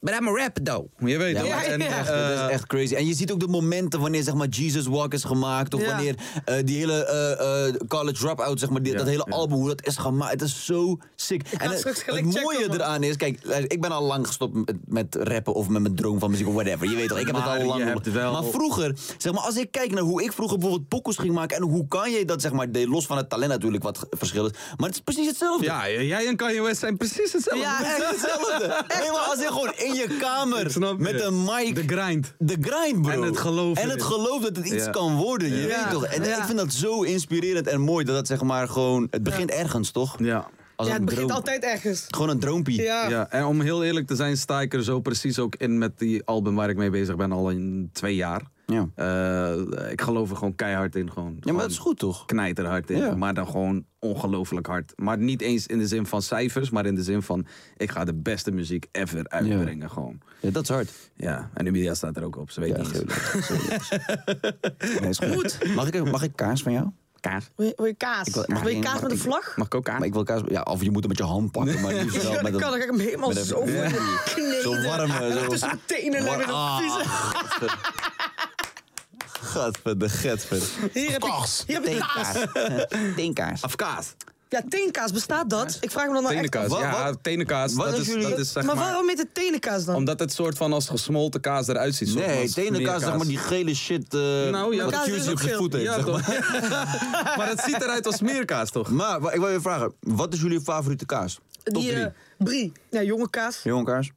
[SPEAKER 5] but I'm a rapper though. Je weet
[SPEAKER 4] Ja,
[SPEAKER 5] toch?
[SPEAKER 4] maar
[SPEAKER 6] Ja,
[SPEAKER 5] En,
[SPEAKER 6] ja.
[SPEAKER 5] eh,
[SPEAKER 4] dat is echt crazy. En je ziet ook de momenten wanneer zeg maar, Jesus Walk is gemaakt. Of
[SPEAKER 6] Ja.
[SPEAKER 4] wanneer eh, die hele eh, eh, College Dropout, zeg maar, die-
[SPEAKER 5] Ja,
[SPEAKER 4] dat hele
[SPEAKER 5] ja.
[SPEAKER 4] album, hoe dat is gemaakt. Het is zo sick. En het,
[SPEAKER 6] straks
[SPEAKER 4] het
[SPEAKER 6] gelijk
[SPEAKER 4] mooie
[SPEAKER 6] checken, man.
[SPEAKER 4] eraan is, kijk, luister, ik ben al lang gestopt met, met rappen of met mijn droom van muziek of whatever. Je weet toch, ik heb
[SPEAKER 5] Maar
[SPEAKER 4] het al lang.
[SPEAKER 5] je hebt wel-
[SPEAKER 4] Maar vroeger, zeg maar, als ik kijk naar hoe ik vroeger bijvoorbeeld pokkels ging maken en hoe kan je dat, zeg maar, deed, los van het talent natuurlijk wat ge- verschil is. Maar het is precies hetzelfde.
[SPEAKER 5] ja, jij en Kanye West zijn precies hetzelfde.
[SPEAKER 4] Ja, echt hetzelfde. Nee, maar als je gewoon in je kamer
[SPEAKER 5] Ik snap
[SPEAKER 4] met
[SPEAKER 5] je.
[SPEAKER 4] een mic.
[SPEAKER 5] De grind.
[SPEAKER 4] De grind, bro.
[SPEAKER 5] En het geloof
[SPEAKER 4] En het
[SPEAKER 5] erin.
[SPEAKER 4] geloof dat het iets
[SPEAKER 5] Ja.
[SPEAKER 4] kan worden,
[SPEAKER 6] Ja.
[SPEAKER 4] je weet toch? En
[SPEAKER 6] Ja.
[SPEAKER 4] ik vind dat zo inspirerend en mooi dat dat zeg maar gewoon... Het begint ergens, toch?
[SPEAKER 5] Ja.
[SPEAKER 4] Als
[SPEAKER 6] Ja,
[SPEAKER 4] een
[SPEAKER 6] het begint
[SPEAKER 4] droom.
[SPEAKER 6] altijd ergens.
[SPEAKER 4] Gewoon een droompie.
[SPEAKER 6] Ja.
[SPEAKER 5] Ja, en om heel eerlijk te zijn, sta ik er zo precies ook in met die album waar ik mee bezig ben al in twee jaar.
[SPEAKER 4] Ja.
[SPEAKER 5] Eh, ik geloof er gewoon keihard in. Gewoon,
[SPEAKER 4] Ja, maar dat is goed, toch?
[SPEAKER 5] knijterhard in.
[SPEAKER 4] Ja.
[SPEAKER 5] Maar dan gewoon ongelooflijk hard. Maar niet eens in de zin van cijfers, maar in de zin van... ik ga de beste muziek ever uitbrengen gewoon.
[SPEAKER 4] Ja, dat is hard.
[SPEAKER 5] Ja, en Nubia staat er ook op. Ze weet
[SPEAKER 4] Ja,
[SPEAKER 5] niet eens.
[SPEAKER 4] Nee, is goed. Mag ik, mag ik kaas van jou?
[SPEAKER 5] Kaas.
[SPEAKER 6] Wil je- wil je kaas?
[SPEAKER 4] wil- mag
[SPEAKER 6] Wil je
[SPEAKER 4] ik-
[SPEAKER 6] kaas
[SPEAKER 4] mag
[SPEAKER 6] met een
[SPEAKER 4] ik-
[SPEAKER 6] vlag?
[SPEAKER 5] Mag ik ook kaas?
[SPEAKER 4] Maar ik wil kaas... Ja, of je moet hem met je hand pakken, maar liefst wel
[SPEAKER 6] Ja,
[SPEAKER 4] met
[SPEAKER 6] dat
[SPEAKER 4] een-
[SPEAKER 6] kan. Dan ga ik hem helemaal
[SPEAKER 4] met een-
[SPEAKER 6] zo
[SPEAKER 4] Ja.
[SPEAKER 6] kneden.
[SPEAKER 4] Zo warm, eh, zo.
[SPEAKER 6] Tussen mijn tenen en
[SPEAKER 4] Warm.
[SPEAKER 6] met een
[SPEAKER 4] Ah.
[SPEAKER 6] vieze.
[SPEAKER 4] Gadver, de getver.
[SPEAKER 6] Hier heb ik, hier heb ik kaas.
[SPEAKER 4] Teenkaas.
[SPEAKER 5] Of kaas.
[SPEAKER 6] Ja, teenkaas, bestaat dat? Ik vraag me dat nou echt
[SPEAKER 5] Tenenkaas.
[SPEAKER 6] af.
[SPEAKER 5] Ja,
[SPEAKER 4] wat-
[SPEAKER 5] tenenkaas.
[SPEAKER 4] wat
[SPEAKER 5] Dat
[SPEAKER 4] als
[SPEAKER 5] is,
[SPEAKER 4] jullie-
[SPEAKER 5] dat is zeg
[SPEAKER 6] maar
[SPEAKER 5] maar...
[SPEAKER 6] waarom heet het tenenkaas dan?
[SPEAKER 5] Omdat het soort van als gesmolten kaas eruit ziet. soort van
[SPEAKER 4] Nee, tenenkaas, zeg maar
[SPEAKER 5] smeerkaas.
[SPEAKER 4] die gele shit. eh
[SPEAKER 5] Nou, ja,
[SPEAKER 4] wat
[SPEAKER 6] kaas is
[SPEAKER 4] Cusi
[SPEAKER 6] ook
[SPEAKER 4] op zijn
[SPEAKER 6] geel.
[SPEAKER 4] voet heeft,
[SPEAKER 5] Ja,
[SPEAKER 4] zeg maar.
[SPEAKER 5] toch? maar het ziet eruit als smeerkaas, toch?
[SPEAKER 4] Maar wa- ik wil je vragen, wat is jullie favoriete kaas? Top
[SPEAKER 6] die,
[SPEAKER 4] drie.
[SPEAKER 6] eh, brie. Ja, jonge kaas.
[SPEAKER 4] Jongenkaas.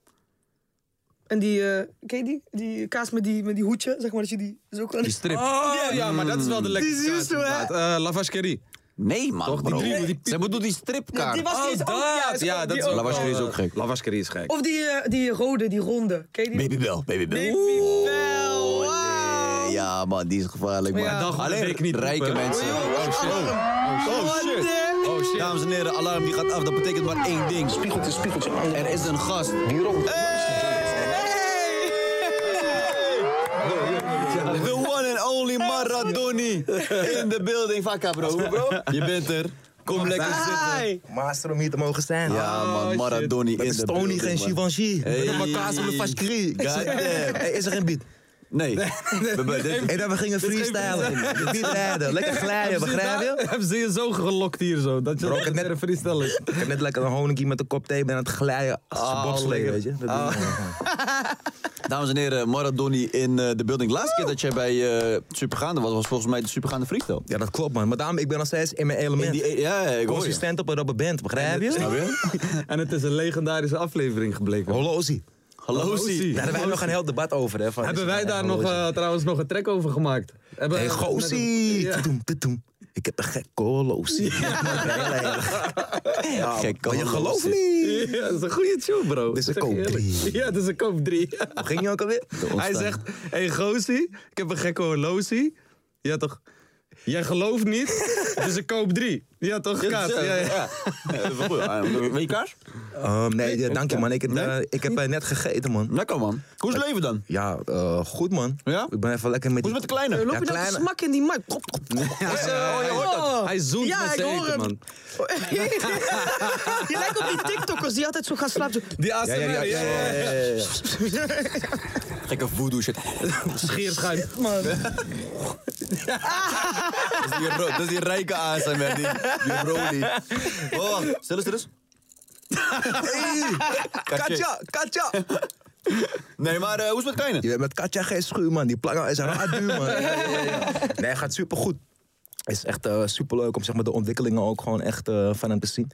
[SPEAKER 6] En die, eh, ken je die? Die kaas met die, met die hoedje, zeg maar dat je die zo kan...
[SPEAKER 5] Die strip. Oh, ja, maar dat is wel de lekkerste
[SPEAKER 6] Mm. Die is
[SPEAKER 5] kaas.
[SPEAKER 6] juist, hè?
[SPEAKER 5] inderdaad. Eh, Lavash Curry.
[SPEAKER 4] Nee, man.
[SPEAKER 5] Toch, die
[SPEAKER 4] bro.
[SPEAKER 5] drie- die-
[SPEAKER 4] Zij bedoelt die stripkaart.
[SPEAKER 6] die was
[SPEAKER 5] Oh,
[SPEAKER 6] die is
[SPEAKER 5] dat!
[SPEAKER 6] ook- ja, is ook- die ook
[SPEAKER 5] La Vacherie
[SPEAKER 4] wel, eh,
[SPEAKER 5] La Vacherie is gek.
[SPEAKER 6] Of die, eh, die rode, die ronde. Ken je die?
[SPEAKER 4] Babybel, babybel.
[SPEAKER 6] Baby Bell, wauw.
[SPEAKER 4] Oh, Ja, man, die is gevaarlijk, man.
[SPEAKER 6] Ja.
[SPEAKER 5] Dag,
[SPEAKER 4] Alleen
[SPEAKER 5] week niet
[SPEAKER 4] rijke
[SPEAKER 5] roepen, hè?
[SPEAKER 4] mensen.
[SPEAKER 6] Oh,
[SPEAKER 4] Oh, shit.
[SPEAKER 6] Wat de-
[SPEAKER 5] Oh shit.
[SPEAKER 4] Dames en heren, alarm die gaat af. Dat betekent maar één ding.
[SPEAKER 3] Spiegeltje, spiegeltje aan
[SPEAKER 4] Er is een gast. The one and only Maradoni in the building. Vakka, bro. bro. Je bent er. Kom lekker zitten.
[SPEAKER 6] Hi.
[SPEAKER 7] Master Ah, om hier te mogen zijn. Oh,
[SPEAKER 4] Ja, man, Maradoni in de
[SPEAKER 7] Stony
[SPEAKER 4] building,
[SPEAKER 7] geen
[SPEAKER 4] man.
[SPEAKER 7] Givenchy.
[SPEAKER 4] Hey.
[SPEAKER 7] Hey. Maar kaas op de Faskri.
[SPEAKER 4] Goddamn.
[SPEAKER 7] Hey, is er geen beat?
[SPEAKER 4] Nee. We- we- dit-
[SPEAKER 7] Hey, dat we gingen freestylen. De beat rijden. Lekker glijden, begrijp je?
[SPEAKER 5] Hebben ze je zo gelokt hier zo? Dat je
[SPEAKER 7] Bro, ik heb net-
[SPEAKER 5] een freestyle is. Ah,
[SPEAKER 7] Ik heb net lekker een honingje met een kop thee ben aan het glijden. Als een bobslee, weet je. Dat doen we gewoon.
[SPEAKER 4] Dames en heren, Maradoni in eh, de building. Laatste keer dat jij bij eh Supergaande was, was volgens mij de Supergaande Freestyle.
[SPEAKER 7] Ja, dat klopt, man. Maar daarom, ik ben nog steeds in mijn
[SPEAKER 4] In
[SPEAKER 7] element.
[SPEAKER 4] die, ja, ja, ik hoor je.
[SPEAKER 7] Consistent op een rubber band, begrijp je?
[SPEAKER 4] Snap je?
[SPEAKER 5] En het is een legendarische aflevering gebleken.
[SPEAKER 7] Holozie.
[SPEAKER 4] Hallo, Zie.
[SPEAKER 7] Daar hebben wij nog een heel debat over, hè. van-
[SPEAKER 5] Hebben
[SPEAKER 7] is het
[SPEAKER 5] wij daar
[SPEAKER 7] nou
[SPEAKER 5] nog,
[SPEAKER 7] een holozie?
[SPEAKER 5] eh, trouwens nog een track over gemaakt? Hebben,
[SPEAKER 7] Hey, Gozi.
[SPEAKER 5] Ja.
[SPEAKER 7] Toedoem, toedoem. Ik heb een gekke holozie.
[SPEAKER 4] Gek,
[SPEAKER 7] Maar je
[SPEAKER 4] hallo,
[SPEAKER 7] gelooft
[SPEAKER 4] Zie.
[SPEAKER 7] niet.
[SPEAKER 5] Ja, dat is een goede tune, bro.
[SPEAKER 7] Dit
[SPEAKER 5] Zeg
[SPEAKER 7] is een
[SPEAKER 5] je
[SPEAKER 7] koop drie.
[SPEAKER 5] eerlijk. Ja, dit is een koop 3.
[SPEAKER 7] Hoe ging je ook alweer?
[SPEAKER 5] Hij zegt, hey Gozi, ik heb een gekke horloge. Ja toch? Jij gelooft niet, dus ik koop drie. Ja toch, Kaas? Ja, ja.
[SPEAKER 4] Ja, dat is wel goed. Ah, Wil je kaars?
[SPEAKER 7] Ehm, nee, ja, dank je man. Ik, heb, eh, ik heb eh, net gegeten man.
[SPEAKER 4] Lekker, man. Hoe is het leven dan?
[SPEAKER 7] Ja, eh, goed man.
[SPEAKER 4] Ja?
[SPEAKER 7] Ik ben even lekker met
[SPEAKER 4] Hoe is het met de kleine?
[SPEAKER 6] Eh, Loop je dat te
[SPEAKER 7] Ja, kleine-
[SPEAKER 6] smakken in die markt?
[SPEAKER 5] Ja, hij- Hij zoent
[SPEAKER 6] Ja,
[SPEAKER 5] met
[SPEAKER 6] ik
[SPEAKER 5] zijn
[SPEAKER 6] hoor
[SPEAKER 5] eten,
[SPEAKER 6] hem.
[SPEAKER 5] man.
[SPEAKER 6] Je lijkt op die TikTokkers die altijd zo gaan slapen. zo-
[SPEAKER 5] Die ASMR,
[SPEAKER 7] Ja, ja, ja, ja, ja, ja, ja, ja.
[SPEAKER 4] Gekke voodoo shit.
[SPEAKER 5] Scheerschuim.
[SPEAKER 6] Man.
[SPEAKER 4] Dat is die, ro- dat is die rijke ASMR, die, die Rodi. Oh, stel eens, stel eens. Hey,
[SPEAKER 7] Katja, Katja!
[SPEAKER 4] Nee, maar eh, hoe is het met de kleine?
[SPEAKER 7] Je bent met Katja geen schuur man. Die planger is raar duur man. Ja, ja, ja, ja. Nee, gaat supergoed. is echt eh, superleuk om zeg maar, de ontwikkelingen ook gewoon echt eh, van hem te zien.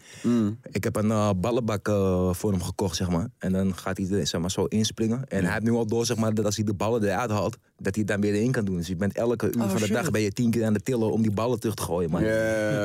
[SPEAKER 7] Ik heb een eh, ballenbak eh, voor hem gekocht, zeg maar. En dan gaat hij er, zeg maar, zo inspringen. En hij heeft nu al door, zeg maar, dat als hij de ballen eruit haalt, dat hij het dan weer in kan doen. Dus je bent elke
[SPEAKER 6] Oh,
[SPEAKER 7] uur van de dag ben je tien keer aan de tillen om die ballen terug te gooien, man.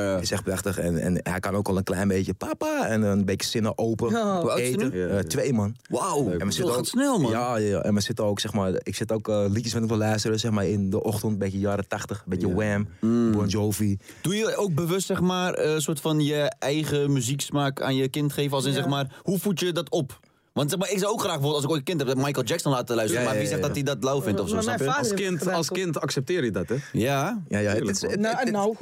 [SPEAKER 7] Dat is echt prachtig. En, en hij kan ook al een klein beetje papa en een beetje zinnen open
[SPEAKER 4] oud is hij
[SPEAKER 7] eten.
[SPEAKER 4] nu?
[SPEAKER 7] Eh, twee, man.
[SPEAKER 4] Wauw,
[SPEAKER 7] En we
[SPEAKER 4] dat
[SPEAKER 7] zitten
[SPEAKER 4] gaat snel, man.
[SPEAKER 7] Ja, ja, ja. en we zitten ook, zeg maar, ik zit ook eh, liedjes met hem te luisteren, zeg maar, in de ochtend, een beetje jaren tachtig, een beetje Wham,
[SPEAKER 6] Mm.
[SPEAKER 7] Bon Jovi.
[SPEAKER 4] Doe je ook bewust, zeg maar, eh, een soort van je eigen muzieksmaak aan je kind geven? Als in, zeg maar, hoe voed je dat op? Want zeg maar, ik zou ook graag bijvoorbeeld als ik ooit een kind heb, dat Michael Jackson laten luisteren.
[SPEAKER 7] Ja,
[SPEAKER 4] maar
[SPEAKER 7] ja,
[SPEAKER 4] wie
[SPEAKER 7] ja,
[SPEAKER 4] zegt dat hij dat lauw vindt of zo?
[SPEAKER 6] Maar
[SPEAKER 4] Snap
[SPEAKER 6] mijn
[SPEAKER 4] je?
[SPEAKER 6] vader
[SPEAKER 5] Als
[SPEAKER 6] heeft het
[SPEAKER 5] kind,
[SPEAKER 6] gedaan,
[SPEAKER 5] als
[SPEAKER 6] toch?
[SPEAKER 5] kind accepteer je dat, hè?
[SPEAKER 4] Ja.
[SPEAKER 7] Ja, ja, het,
[SPEAKER 5] Tuurlijk,
[SPEAKER 7] is- het- het-
[SPEAKER 6] Nou,
[SPEAKER 7] het-
[SPEAKER 6] nou.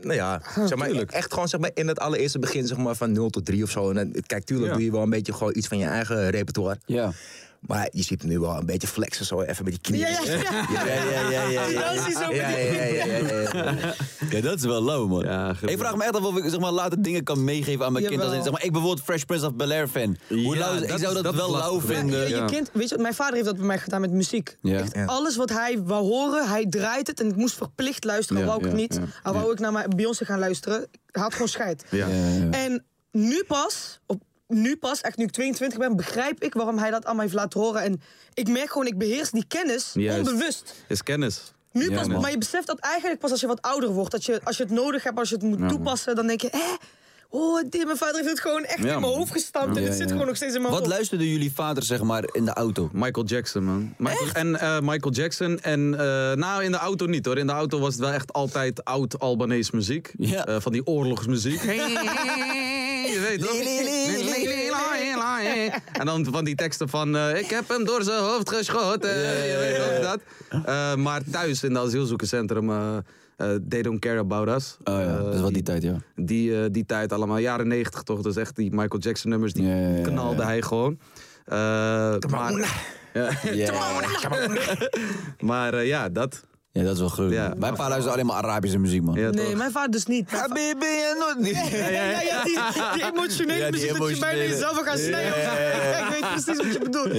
[SPEAKER 7] nou ja, zeg maar, echt gewoon zeg maar, in het allereerste begin zeg maar, van 0 tot 3 of zo. En dan, kijk, tuurlijk
[SPEAKER 5] Ja.
[SPEAKER 7] doe je wel een beetje gewoon iets van je eigen repertoire.
[SPEAKER 4] Ja.
[SPEAKER 7] Maar je ziet hem nu wel een beetje flexen zo, even met die
[SPEAKER 6] Ja,
[SPEAKER 7] knieën.
[SPEAKER 6] ja, ja.
[SPEAKER 7] ja, ja, ja, ja,
[SPEAKER 6] Die
[SPEAKER 7] ja.
[SPEAKER 6] dansie zo met
[SPEAKER 7] Ja,
[SPEAKER 6] die-
[SPEAKER 7] ja, ja, ja, ja, ja.
[SPEAKER 4] Ja, dat is wel lauw, man.
[SPEAKER 5] Ja, geweldig.
[SPEAKER 4] ik vraag me echt af of ik zeg maar, later dingen kan meegeven aan mijn kind. Als in,
[SPEAKER 6] Jawel.
[SPEAKER 4] zeg maar, ik bijvoorbeeld Fresh Prince of Bel-Air fan. Hoe
[SPEAKER 5] Ja,
[SPEAKER 4] lauw is-
[SPEAKER 5] dat
[SPEAKER 4] ik
[SPEAKER 5] is-
[SPEAKER 4] zou dat,
[SPEAKER 5] dat is
[SPEAKER 4] wel lauw
[SPEAKER 5] lastig.
[SPEAKER 4] vinden.
[SPEAKER 6] je, je kind, weet je wat, mijn vader heeft dat bij mij gedaan met muziek.
[SPEAKER 4] Ja.
[SPEAKER 6] Echt
[SPEAKER 7] Ja.
[SPEAKER 6] alles wat hij wou horen, hij draait het en ik moest verplicht luisteren.
[SPEAKER 5] Ja,
[SPEAKER 6] wou ik
[SPEAKER 5] ja,
[SPEAKER 6] niet.
[SPEAKER 5] ja.
[SPEAKER 6] Al wou ik naar mijn Beyoncé gaan luisteren, hij had gewoon scheid.
[SPEAKER 5] Ja.
[SPEAKER 6] En nu pas, op, nu pas, echt nu ik 22 ben, begrijp ik waarom hij dat aan mij heeft laten horen. En ik merk gewoon, ik beheers die kennis
[SPEAKER 5] Juist.
[SPEAKER 6] onbewust.
[SPEAKER 5] Is kennis.
[SPEAKER 6] Nu
[SPEAKER 4] Ja,
[SPEAKER 6] pas,
[SPEAKER 4] man.
[SPEAKER 6] maar je beseft dat eigenlijk pas als je wat ouder wordt. Dat je, als je het nodig hebt, als je het moet toepassen, dan denk je, hè? Oh, dit, mijn vader heeft het gewoon echt in
[SPEAKER 5] man.
[SPEAKER 6] mijn hoofd gestampt. en
[SPEAKER 4] Ja,
[SPEAKER 6] het
[SPEAKER 4] ja.
[SPEAKER 6] zit gewoon nog steeds in mijn
[SPEAKER 4] Wat
[SPEAKER 6] hoofd.
[SPEAKER 4] luisterden jullie vader, zeg maar, in de auto?
[SPEAKER 5] Michael Jackson, man. Michael, en eh, Michael Jackson. En eh, nou, in de auto niet hoor. In de auto was het wel echt altijd oud Albanese muziek.
[SPEAKER 4] Ja.
[SPEAKER 5] Eh, van die oorlogsmuziek. Je weet toch? En dan van die teksten van... eh, ik heb hem door zijn hoofd geschoten. Je weet toch dat? Eh, maar thuis in de asielzoekerscentrum... eh, eh, they don't care about us. Eh,
[SPEAKER 4] Oh ja, dat is wel die tijd, ja.
[SPEAKER 5] Die, eh, die tijd allemaal, jaren 90 toch? Dat is echt die Michael Jackson nummers, die
[SPEAKER 4] Ja, ja, ja, ja.
[SPEAKER 5] knalde hij gewoon. Eh, maar
[SPEAKER 4] Ja,
[SPEAKER 5] maar eh, ja, dat.
[SPEAKER 4] ja dat is wel gruwelijk.
[SPEAKER 5] Ja.
[SPEAKER 4] Mijn pa luistert dus alleen maar Arabische muziek, man.
[SPEAKER 5] Ja,
[SPEAKER 6] Nee,
[SPEAKER 5] toch?
[SPEAKER 6] mijn vader dus niet. Mijn va-
[SPEAKER 4] Habibi en nooit niet.
[SPEAKER 6] Ja, ja, ja, die, die emotionele
[SPEAKER 4] Ja, die
[SPEAKER 6] muziek dus dat je bijna
[SPEAKER 4] emotionele.
[SPEAKER 6] jezelf wil gaan snijden. Ja, ik weet precies wat je bedoelt.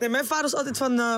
[SPEAKER 6] Nee, mijn vader was altijd van... eh,